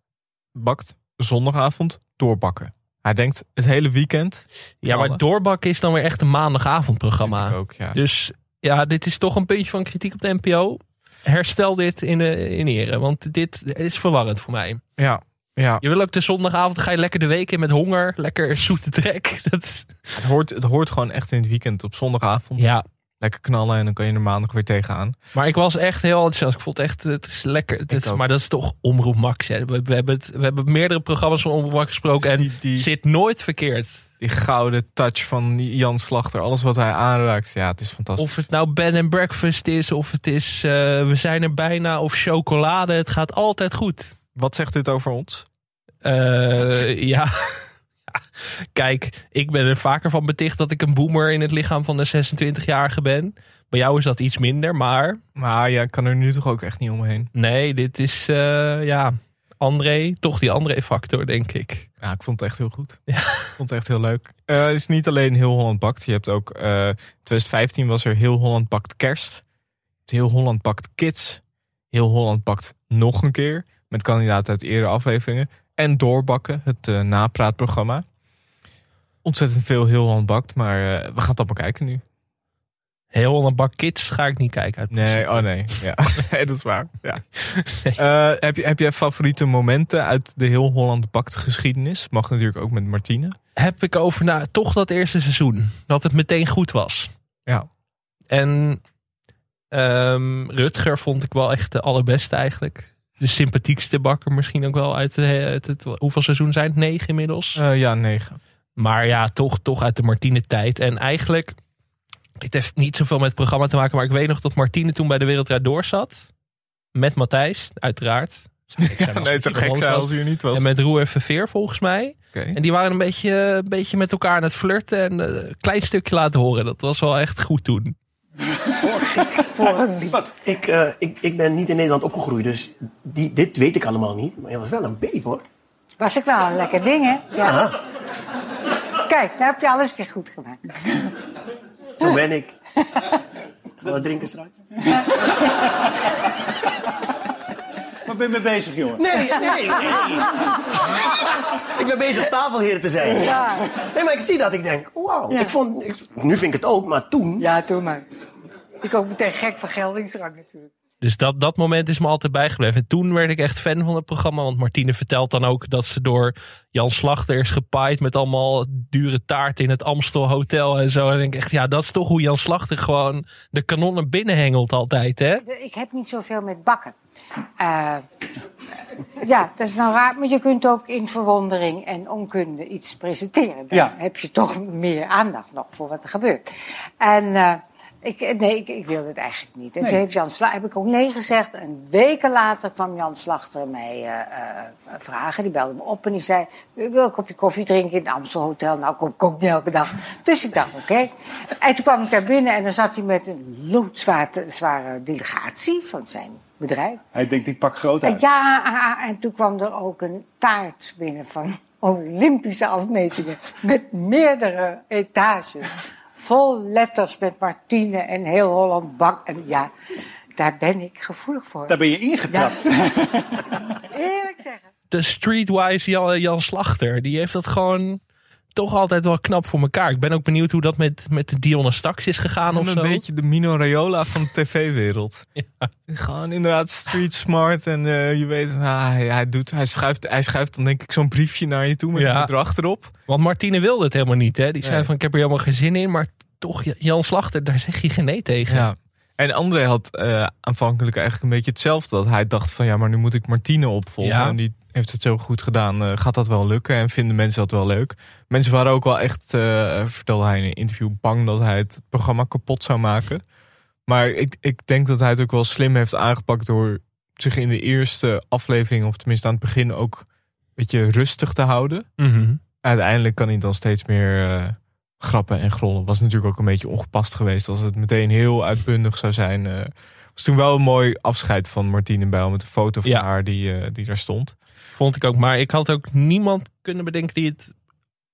Bakt. Zondagavond doorbakken. Hij denkt het hele weekend.
Ja, maar
Knallen.
doorbakken is dan weer echt een
Vind
maandagavondprogramma.
ik ook, ja.
Dus ja, dit is toch een puntje van kritiek op de NPO. Herstel dit in, eh, in ere, want dit is verwarrend voor mij.
Ja, ja.
Je wil ook de zondagavond, ga je lekker de week in met honger. Lekker zoete trek. Dat is-
Het, hoort, het hoort gewoon echt in het weekend op zondagavond.
ja,
Lekker knallen en dan kan je er maandag weer tegenaan.
maar ik was echt heel enthousiast. Ik vond echt, het is lekker. Het is,
ook.
maar dat is toch Omroep Max. Hè. We, we hebben het, we hebben meerdere programma's van Omroep Max gesproken.
Het
En
is Dus die- die-
zit nooit verkeerd.
Die gouden touch van Jan Slachter. Alles wat hij aanraakt. Ja, het is fantastisch.
Of het nou bed and breakfast is, of het is eh, we zijn er bijna, of chocolade. Het gaat altijd goed.
Wat zegt dit over ons?
Eh, ja. Ja. Kijk, ik ben er vaker van beticht dat ik een boomer in het lichaam van een 26-jarige ben. Bij jou is dat iets minder, maar
Maar ja, ik kan er nu toch ook echt niet omheen.
nee, dit is eh, ja, André, toch die André-factor, denk ik.
Ja, ik vond het echt heel goed. Ik vond het echt heel leuk. Eh, het is niet alleen Heel Holland Bakt. Je hebt ook... eh 2015 was er Heel Holland Bakt Kerst. Je hebt Heel Holland Bakt Kids. Heel Holland Bakt nog een keer. Met kandidaten uit eerdere afleveringen. En Doorbakken, het eh, napraatprogramma. Ontzettend veel Heel Holland Bakt. Maar eh, we gaan het allemaal kijken nu.
Heel een bak kids ga ik niet kijken. Uit principe.
Nee, oh nee. Ja. nee, dat is waar. Ja. Eh, heb, je, heb jij favoriete momenten uit de Heel Holland Bakt geschiedenis? Mag natuurlijk ook met Martine.
Heb ik over na, toch dat eerste seizoen, dat het meteen goed was.
Ja.
En ehm, Rutger vond ik wel echt de allerbeste eigenlijk. De sympathiekste bakker misschien ook wel uit, de, uit het... Hoeveel seizoen zijn het? Negen inmiddels?
Eh, ja, negen.
Maar ja, toch, toch uit de Martine-tijd. En eigenlijk, het heeft niet zoveel met het programma te maken. Maar ik weet nog dat Martine toen bij de Wereld Draait Door zat. Met Matthijs, uiteraard. Zou gek zijn als
Nee, het zou
Martine
gek
anders
zijn
was.
als u er niet was.
En met Roer en Verveer volgens mij.
Oké.
En die waren een beetje, een beetje met elkaar aan het flirten. En eh, een klein stukje laten horen. Dat was wel echt goed toen.
Ik, eh, ik, ik ben niet in Nederland opgegroeid, dus die, dit weet ik allemaal niet. Maar je was wel een babe, hoor.
Was ik wel een lekker ding, hè? Ja. Kijk, nou heb je alles weer goed gemaakt.
Zo ben ik. Gaan we wat drinken straks?
Waar ben je mee bezig, jongen?
Nee, nee, nee. ik ben bezig tafelheer te zijn.
Ja.
Nee, maar ik zie dat. Ik denk, wauw.
Ja.
Ik vond, ik- nu vind ik het ook, maar toen...
Ja, doe maar. Ik ook meteen gek van geldingsdrang natuurlijk.
Dus dat, dat moment is me altijd bijgebleven. En toen werd ik echt fan van het programma. Want Martine vertelt dan ook dat ze door Jan Slachter is gepaaid met allemaal dure taarten in het Amstel Hotel en zo. En dan denk ik echt, ja, dat is toch hoe Jan Slachter gewoon de kanonnen binnenhengelt altijd, hè?
Ik heb niet zoveel met bakken. Eh, ja, dat is nou raar, maar je kunt ook in verwondering en onkunde iets presenteren. Dan
Ja.
heb je toch meer aandacht nog voor wat er gebeurt. En eh, ik, nee, ik, ik wilde het eigenlijk niet. En
Nee.
toen heeft Jan Sla- heb ik ook nee gezegd. En weken later kwam Jan Slachter mij eh, eh, vragen. Die belde me op en die zei... "Eh, wil je een kopje koffie drinken in het Amstel Hotel? Nou, kom ik ook niet elke dag. Dus ik dacht, oké. En toen kwam ik daar binnen en dan zat hij met een loodzware zware delegatie van zijn bedrijf.
Hij denkt, ik pak groot uit.
Ja, ah, ah, en toen kwam er ook een taart binnen van Olympische afmetingen. Met meerdere etages. Vol letters met Martine en heel Holland bak. En ja, daar ben ik gevoelig voor.
Daar ben je
Ja.
ingetrapt.
Eerlijk zeggen.
De streetwise Jan, Jan Slachter, die heeft dat gewoon toch altijd wel knap voor elkaar. Ik ben ook benieuwd hoe dat met, met de Dionne Stax is gegaan
Gewoon
of
een
zo.
beetje de Mino Raiola van de tv-wereld. Gewoon inderdaad street smart. En eh, je weet, ah, hij, hij doet, hij, schuift, hij schuift dan denk ik zo'n briefje naar je toe met
Ja.
een bedrag erop.
Want Martine wilde het helemaal niet, hè? Die zei
Nee.
van, ik heb er helemaal geen zin in, maar toch, Jan Slachter, daar zeg je geen nee tegen.
Ja. En André had eh, aanvankelijk eigenlijk een beetje hetzelfde. Dat hij dacht van ja, maar nu moet ik Martine opvolgen.
Ja.
En die heeft het zo goed gedaan. Eh, gaat dat wel lukken? En vinden mensen dat wel leuk? Mensen waren ook wel echt, eh, vertelde hij in een interview, bang dat hij het programma kapot zou maken. Maar ik, ik denk dat hij het ook wel slim heeft aangepakt door zich in de eerste aflevering, of tenminste aan het begin, ook een beetje rustig te houden.
Mhm.
Uiteindelijk kan hij dan steeds meer eh, grappen en grollen. Was natuurlijk ook een beetje ongepast geweest als het meteen heel uitbundig zou zijn. Eh, was toen wel een mooi afscheid van Martine Bijl met een foto van
Ja.
haar die, eh, die daar stond.
Vond ik ook. Maar ik had ook niemand kunnen bedenken die het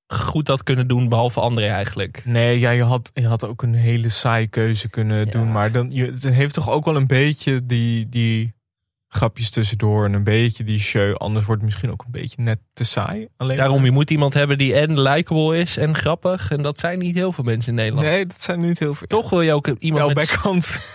goed had kunnen doen, behalve André eigenlijk.
Nee, ja, je, had, je had ook een hele saaie keuze kunnen doen. Maar dan, je, het heeft toch ook wel een beetje die, die grapjes tussendoor. En een beetje die show. Anders wordt het misschien ook een beetje net te saai. Alleen
Daarom, je moet iemand hebben die en likable is en grappig. En dat zijn niet heel veel mensen in Nederland.
Nee, dat zijn niet heel veel.
Toch wil je ook iemand
Tel
met...
Beckhand.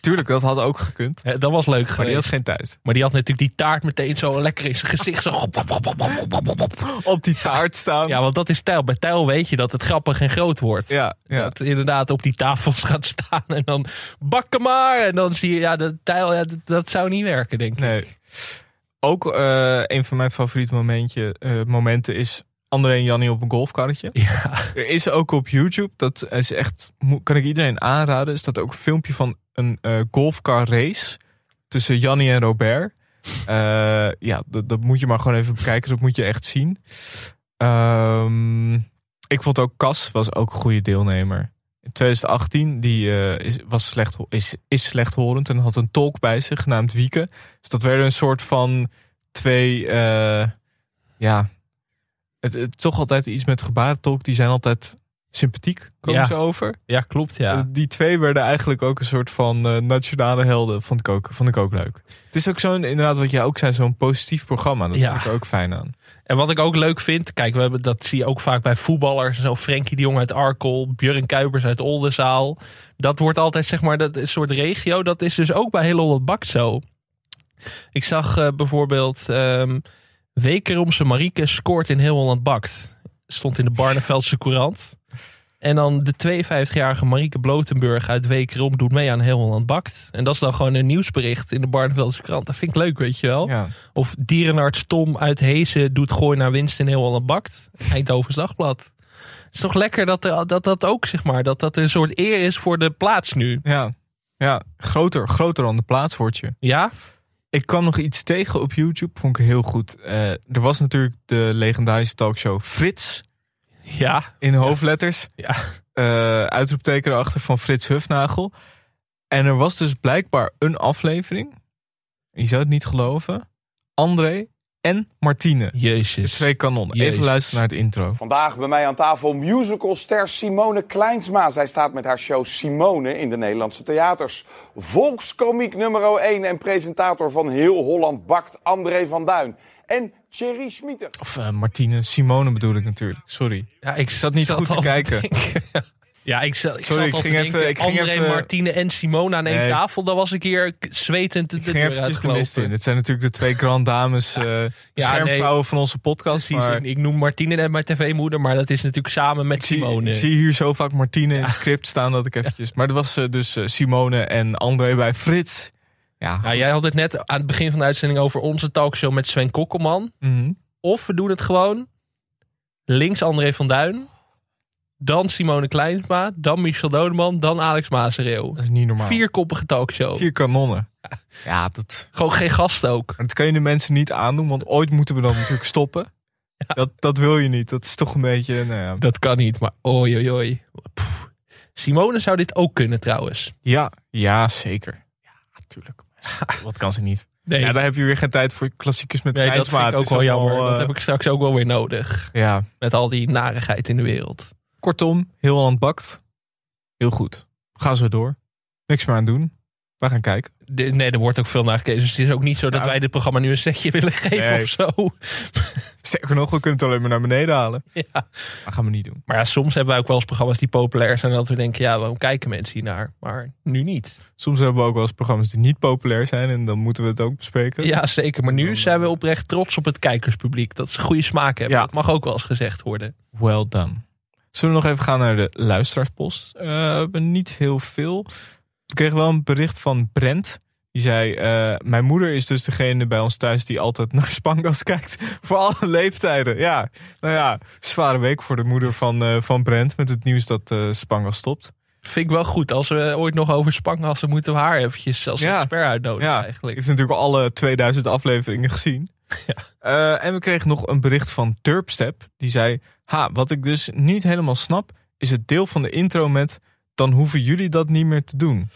Tuurlijk, dat had ook gekund.
Hè, Dat was leuk
Maar die
geweest.
had geen tijd.
Maar die had natuurlijk die taart meteen zo lekker in zijn gezicht. Zo... gop, gop, gop, gop, gop, gop, gop.
Op die taart staan.
Ja, want dat is tijl. Bij tijl weet je dat het grappig en groot wordt.
Ja, ja.
Dat inderdaad op die tafels gaat staan en dan bakken maar. En dan zie je, ja, dat tijl, ja, dat, dat zou niet werken, denk ik.
Nee. Ook eh, een van mijn favoriete momentje, eh, momenten is André en Jannie op een golfkarretje.
Ja.
Er is ook op YouTube, dat is echt, mo- kan ik iedereen aanraden, is dat ook een filmpje van een eh golfcar race tussen Jannie en Robert. Eh, ja, dat, dat moet je maar gewoon even bekijken, dat moet je echt zien. Ehm, ik vond ook Cas was ook een goede deelnemer. In 2018, die eh, is, was slecht, is, is slechthorend en had een tolk bij zich genaamd Wieke. Dus dat werden een soort van twee, eh, ja, het, het- toch altijd iets met gebarentolk. Die zijn altijd sympathiek, komen
Ja.
ze over.
Ja, klopt, ja.
Eh, Die twee werden eigenlijk ook een soort van eh, nationale helden. Vond ik, ook, vond ik ook leuk. Het is ook zo'n, inderdaad wat jij ook zei, zo'n positief programma. Dat
Ja.
vind ik er ook fijn aan.
En wat ik ook leuk vind, kijk, we hebben, dat zie je ook vaak bij voetballers. Zo Frenkie de Jong uit Arkel, Björn Kuipers uit Oldenzaal. Dat wordt altijd, zeg maar, dat is soort regio. Dat is dus ook bij heel Holland Bakt zo. Ik zag eh, bijvoorbeeld ehm Wekeromse Marieke scoort in heel Holland Bakt. Stond in de Barneveldse Courant. En dan de 52-jarige Marieke Blotenburg uit Wekerom doet mee aan heel Holland Bakt. En dat is dan gewoon een nieuwsbericht in de Barneveldse Courant. Dat vind ik leuk, weet je wel.
Ja.
Of dierenarts Tom uit Hezen doet gooi naar winst in heel Holland bakt. Eindhoven's Dagblad. Het is toch lekker dat, er, dat dat ook, zeg maar, dat dat een soort eer is voor de plaats nu.
Ja. ja, groter, groter dan de plaats wordt je.
Ja?
Ik kwam nog iets tegen op YouTube, vond ik heel goed. Eh, er was natuurlijk de legendarische talkshow Frits
Ja.
in hoofdletters.
Ja.
Eh, uitroepteken erachter van Frits Hufnagel. En er was dus blijkbaar een aflevering. Je zou het niet geloven. André en Martine. De
Jezus.
twee kanonnen. Even
Jezus.
luisteren naar het intro.
Vandaag bij mij aan tafel musicalster Simone Kleinsma. Zij staat met haar show Simone in de Nederlandse theaters. Volkscomiek nummer 1 en presentator van Heel Holland Bakt André van Duin. En Thierry Schmieter.
Of eh, Martine, Simone bedoel ik natuurlijk. Sorry.
Ja, ik
zat niet goed te
al
kijken.
denken. Ja, ik, zat- ik
Sorry,
zat al
ik
te
ging
denken,
even- ik ging
André,
even-
Martine en Simone aan één
Nee.
tafel. Dan was ik hier k- zwetend de
Ik ging
deur
eventjes de
uitgelopen.
mist in. Het zijn natuurlijk de twee grand dames, eh schermvrouwen van onze podcast.
Precies,
maar
ik, ik noem Martine en mijn tv-moeder, maar dat is natuurlijk samen met
ik, zie,
Simone.
ik zie hier zo vaak Martine in het script staan dat ik eventjes... Maar dat was eh, dus eh, Simone en André bij Frits. Ja,
Nou, jij had het net aan het begin van de uitzending over onze talkshow met Sven Kokkelman.
mhm.
Of we doen het gewoon links André van Duin. Dan Simone Kleinsma. Dan Michel Dodeman. Dan Alex Mazereeuw.
dat is niet normaal.
Vierkoppige talkshow.
Vier kanonnen. Ja, dat...
Gewoon geen gast ook.
maar Dat kan je de mensen niet aandoen, want ooit moeten we dan natuurlijk stoppen. Dat, dat wil je niet. Dat is toch een beetje... Nou ja.
Dat kan niet, maar oi oi oi. Pff. Simone zou dit ook kunnen trouwens.
ja, ja, zeker. Ja, natuurlijk. Wat kan ze niet?
Nee,
Ja, daar heb je weer geen tijd voor klassiekers met
nee dat vind
Kleinsma.
ik ook
Het is
wel jammer.
allemaal,
Dat
eh,
heb ik straks ook wel weer nodig.
Ja.
Met al die narigheid in de wereld.
Kortom, heel Holland bakt. Heel goed. Ga zo door. Niks meer aan doen. We gaan kijken.
De- nee, er wordt ook veel naar gekeken. Dus het is ook niet zo dat
Ja.
wij dit programma nu een setje willen geven
Nee.
of zo.
Sterker nog, we kunnen het alleen maar naar beneden halen.
Ja.
Dat gaan we niet doen.
Maar ja, soms hebben wij ook wel eens programma's die populair zijn. Dat we denken, ja, waarom kijken mensen hier naar? Maar nu niet.
Soms hebben we ook wel eens programma's die niet populair zijn. En dan moeten we het ook bespreken.
Ja, zeker. Maar nu zijn we oprecht trots op het kijkerspubliek. Dat ze goede smaak hebben.
Ja.
Dat mag ook wel eens gezegd worden.
Well done. Zullen we nog even gaan naar de luisteraarspost? Eh, we hebben niet heel veel. Ik kreeg wel een bericht van Brent. Die zei, eh, mijn moeder is dus degene bij ons thuis die altijd naar Spangas kijkt. Voor alle leeftijden. Ja, nou ja, zware week voor de moeder van, eh, van Brent. Met het nieuws dat eh, Spangas stopt.
Vind ik wel goed. Als we ooit nog over spangassen moeten we haar eventjes als
Ja.
expert uitnodigen
Ja,
eigenlijk.
heeft natuurlijk alle 2000 afleveringen gezien. Eh, en we kregen nog een bericht van Turpstep. Die zei, ha, wat ik dus niet helemaal snap... is het deel van de intro met dan hoeven jullie dat niet meer te doen.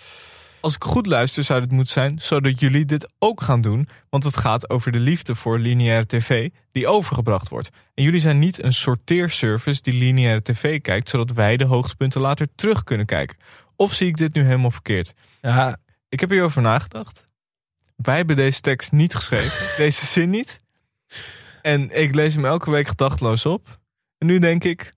Als ik goed luister zou dit moeten zijn zodat jullie dit ook gaan doen, want het gaat over de liefde voor lineaire tv die overgebracht wordt. En jullie zijn niet een sorteerservice die lineaire tv kijkt zodat wij de hoogtepunten later terug kunnen kijken. Of zie ik dit nu helemaal verkeerd?
Ja.
Ik heb hierover nagedacht. Wij hebben deze tekst niet geschreven, deze zin niet. En ik lees hem elke week gedachteloos op. En nu denk ik,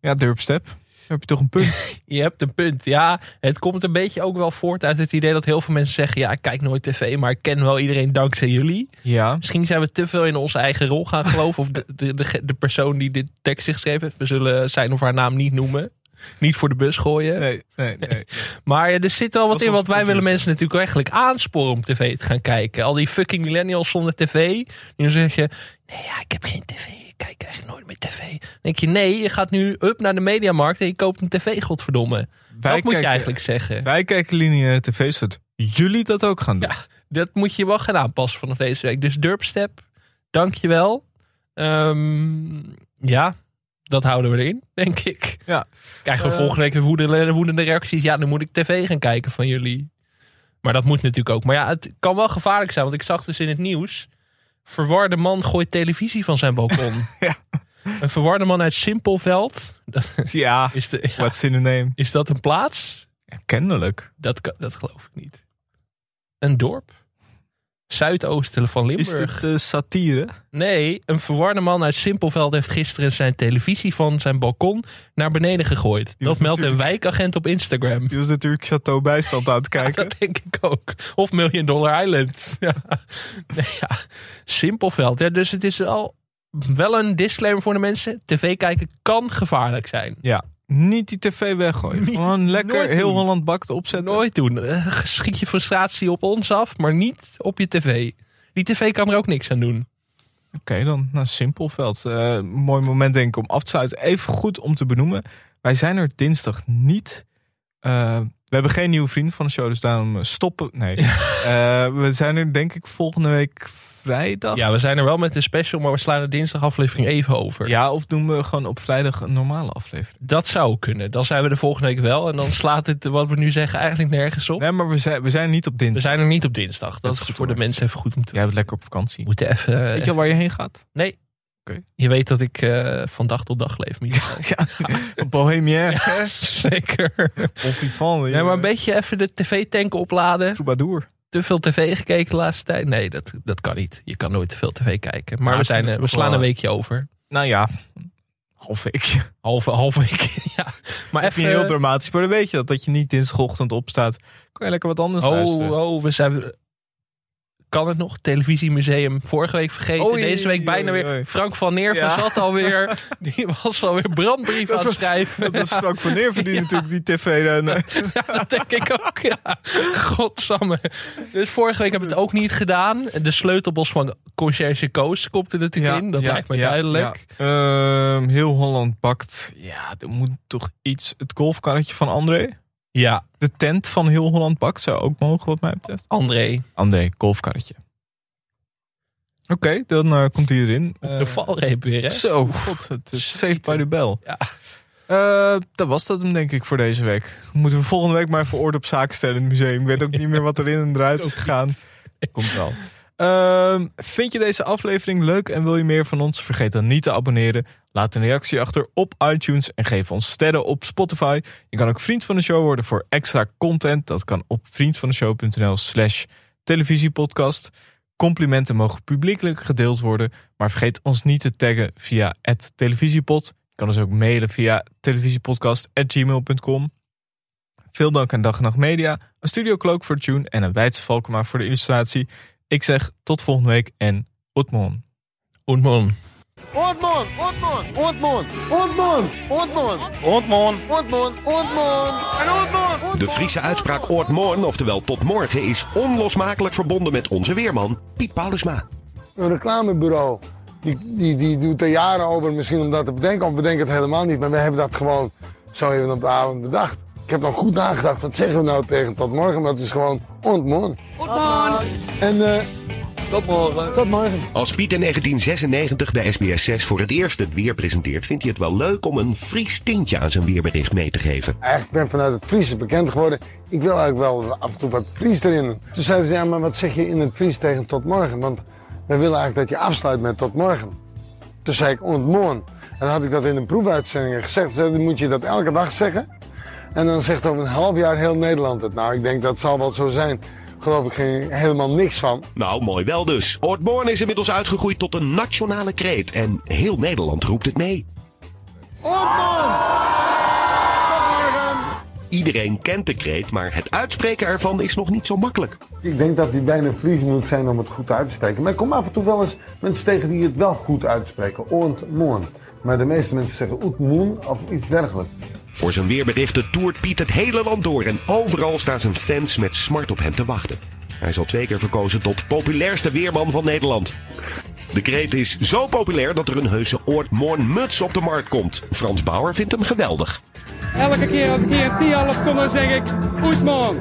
ja, Durpstep, dan heb je toch een punt.
Je hebt een punt. Ja, het komt een beetje ook wel voort uit het idee dat heel veel mensen zeggen: Ja, ik kijk nooit tv, maar ik ken wel iedereen dankzij jullie.
Ja.
Misschien zijn we te veel in onze eigen rol gaan geloven. Of de, de, de, de persoon die dit tekst heeft geschreven heeft. We zullen zijn of haar naam niet noemen. Niet voor de bus gooien.
Nee, nee, nee.
Maar eh, er zit wel wat
Alsof
in, want
het
wij
goed
willen
is.
mensen natuurlijk eigenlijk aansporen om tv te gaan kijken. Al die fucking millennials zonder tv. Nu zeg je, nee ja, ik heb geen tv. Ik kijk eigenlijk nooit meer tv. Dan denk je, nee, je gaat nu up naar de mediamarkt en je koopt een tv, godverdomme.
Wij
dat moet je
kijken-
eigenlijk zeggen.
Wij kijken lineaire tv, zodat jullie dat ook gaan doen.
Ja, dat moet je wel gaan aanpassen vanaf deze week. Dus Durpstep, dankjewel. Ehm ja, dat houden we erin, denk ik.
Ja.
Krijgen we
Eh.
volgende week weer woedende, woedende reacties. Ja, dan moet ik tv gaan kijken van jullie. Maar dat moet natuurlijk ook. Maar ja, het kan wel gevaarlijk zijn. Want ik zag dus in het nieuws... Verwarde man gooit televisie van zijn balkon.
Ja.
Een verwarde man uit Simpelveld.
Ja,
Is, de, ja,
what's in the name?
is dat een plaats?
Ja, kennelijk.
Dat, kan- dat geloof ik niet. Een dorp? Zuidoosten van
Is
Limburg.
dit eh, satire?
Nee, een verwarde man uit Simpelveld heeft gisteren zijn televisie van zijn balkon naar beneden gegooid.
Die
Dat
was
meldt een wijkagent op Instagram.
Je was natuurlijk Chateau Bijstand aan het kijken.
Dat denk ik ook. Of Million Dollar Island. Ja. Nee, ja. Simpelveld. Ja, dus het is wel, wel een disclaimer voor de mensen. TV kijken kan gevaarlijk zijn.
Ja. Niet die tv weggooien.
Niet-
Gewoon lekker
nooit doen.
heel Holland bakt opzetten.
Nooit doen. Eh, Schiet je frustratie op ons af, maar niet op je tv. Die tv kan er ook niks aan doen.
Oké, dan naar Simpelveld. Eh, mooi moment denk ik om af te sluiten. Even goed om te benoemen. Wij zijn er dinsdag niet. Eh, we hebben geen nieuwe vrienden van de show, dus daarom eh, stoppen. Nee. Eh, we zijn er denk ik volgende week vrijdag.
Ja, we zijn er wel met een special, maar we slaan de dinsdag aflevering even over.
Ja, of doen we gewoon op vrijdag een normale aflevering?
Dat zou kunnen. Dan zijn we de volgende week wel. En dan slaat het eh, wat we nu zeggen eigenlijk nergens op.
Nee, maar we zijn, we zijn niet op
We
dinsdag.
zijn er niet op dinsdag. Dat,
Dat is
is
goed
voor de
om even te
mensen even goed om te
Jij bent lekker op vakantie.
We moeten even... eh,
Weet je al waar je heen gaat?
Nee.
Oké.
Je weet dat ik eh, van dag tot dag leef, Michel.
Ja, Bohemien. hè?
Zeker.
Bon vivant.
Nee, maar een beetje even de tv-tank opladen.
troubadour.
Te veel tv gekeken de laatste tijd. Nee, dat, dat kan niet. Je kan nooit te veel tv kijken. Maar
Ja,
we,
ik
zijn,
vind
eh,
het
we
ook
slaan
wel-
een weekje over.
Nou ja, half weekje.
Halve, halve week. ja. Maar
Even
even...
heel dramatisch, maar dan weet je dat. Dat je niet dinsdagochtend opstaat. Kan je lekker wat anders
Oh,
luisteren.
oh, we zijn. Kan het nog? Televisiemuseum. Vorige week vergeten.
Oei,
Deze week
oei,
bijna
oei,
weer.
oei.
Frank van Neerven
Ja.
zat alweer. Die was alweer brandbrief aan het
was,
schrijven.
dat was
Ja,
Frank van Neerven die natuurlijk die tv dan...
ja, dat denk ik ook. Ja. Godsamme. Dus vorige week hebben we het ook niet gedaan. De sleutelbos van Conciërge Koos komt er natuurlijk in. Dat lijkt me duidelijk.
ja. Ehm, heel Holland bakt. Ja, er moet toch iets... Het golfkarretje van André.
Ja,
De tent van Heel Holland bakt zou ook mogen wat mij betreft.
André.
André, golfkarretje. Oké, dan eh, komt hij erin. Eh,
De valreep weer, hè?
Zo, god, het is saved by the bell.
Ja.
Eh, dat was dat hem denk ik voor deze week. Moeten we volgende week maar even orde op zaak stellen in het museum. Ik weet ook niet meer wat erin en eruit is gegaan. Komt wel. Ehm, vind je deze aflevering leuk en wil je meer van ons? Vergeet dan niet te abonneren. Laat een reactie achter op iTunes en geef ons sterren op Spotify. Je kan ook vriend van de show worden voor extra content. Dat kan op vriendvandeshow.nl slash televisiepodcast. Complimenten mogen publiekelijk gedeeld worden. Maar vergeet ons niet te taggen via het televisiepod. Je kan ons ook mailen via televisiepodcast.gmail.com. Veel dank aan Dag en Nacht Media, een Studio Cloak voor de tune en een Weidse Valkema voor de illustratie. Ik zeg tot volgende week en Otmon.
Und man.
Ontmon, ontmon, ontmon, ontmon, ontmon,
Ontmon.
ontmon, ontmon. En ontmon.
De Friese uitspraak Oort Morn, oftewel tot morgen, is onlosmakelijk verbonden met onze weerman Piet Paulusma.
Een reclamebureau, die, die, die doet er jaren over misschien om dat te bedenken. Of bedenken het helemaal niet, maar we hebben dat gewoon zo even op de avond bedacht. Ik heb nog goed nagedacht, wat zeggen we nou tegen tot morgen? Maar het is gewoon ontmon. Ontmon. En eh Tot morgen. Tot morgen.
Als Piet in 1996 bij SBS 6 voor het eerst het weer presenteert, vindt hij het wel leuk om een Fries tintje aan zijn weerbericht mee te geven.
Eigenlijk ben ik vanuit het Friese bekend geworden. Ik wil eigenlijk wel af en toe wat Fries erin. Toen zeiden ze, ja, maar wat zeg je in het Fries tegen tot morgen? Want wij willen eigenlijk dat je afsluit met tot morgen. Toen zei ik, ontmoen. En dan had ik dat in een proefuitzending gezegd. Ze zeiden, dan moet je dat elke dag zeggen. En dan zegt over een half jaar heel Nederland het. Nou, ik denk dat zal wel zo zijn. Geloof ik geen, helemaal niks van.
Nou, mooi wel dus. Oortborn is inmiddels uitgegroeid tot een nationale kreet en heel Nederland roept het mee. Iedereen kent de kreet, maar het uitspreken ervan is nog niet zo makkelijk.
Ik denk dat hij bijna Fries moet zijn om het goed uit te spreken. Maar ik kom af en toe wel eens mensen tegen die het wel goed uitspreken. Ontmoen. Maar de meeste mensen zeggen oetmoen of iets dergelijks.
Voor zijn weerberichten toert Piet het hele land door en overal staan zijn fans met smart op hem te wachten. Hij is al twee keer verkozen tot populairste weerman van Nederland. De kreet is zo populair dat er een heuse Oortmoorn muts op de markt komt. Frans Bauer vindt hem geweldig.
Elke keer als ik hier niet half kom, dan zeg ik Oesman.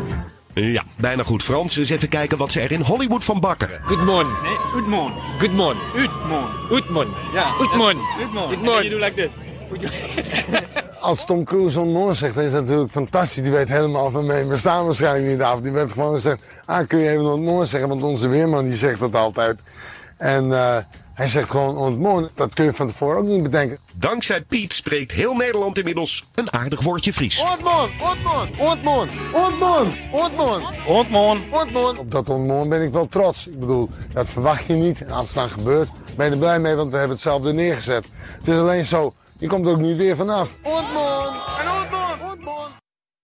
Ja, bijna goed Frans. Eens even kijken wat ze er in Hollywood van bakken.
Good morning. Nee, good morning. Good morning. Good morning. Good morning. Ja. Good morning. Good morning. Good morning. You do like this.
Als Tom Cruise ontmoen zegt, dan is dat natuurlijk fantastisch. Die weet helemaal van mee. We staan waarschijnlijk niet af. Die werd gewoon gezegd, ah, kun je even ontmoen zeggen? Want onze weerman die zegt dat altijd. En eh, hij zegt gewoon ontmoen. Dat kun je van tevoren ook niet bedenken.
Dankzij Piet spreekt heel Nederland inmiddels een aardig woordje Fries.
Ontmoen, ontmoen, ontmoen, ontmoen, ontmoen. Ontmoen. Ontmoen. Op dat ontmoen ben ik wel trots. Ik bedoel, dat verwacht je niet. En als het dan gebeurt, ben je er blij mee, want we hebben het zelf er neergezet. Het is alleen zo, je komt er ook niet weer vanaf. Ontmoen.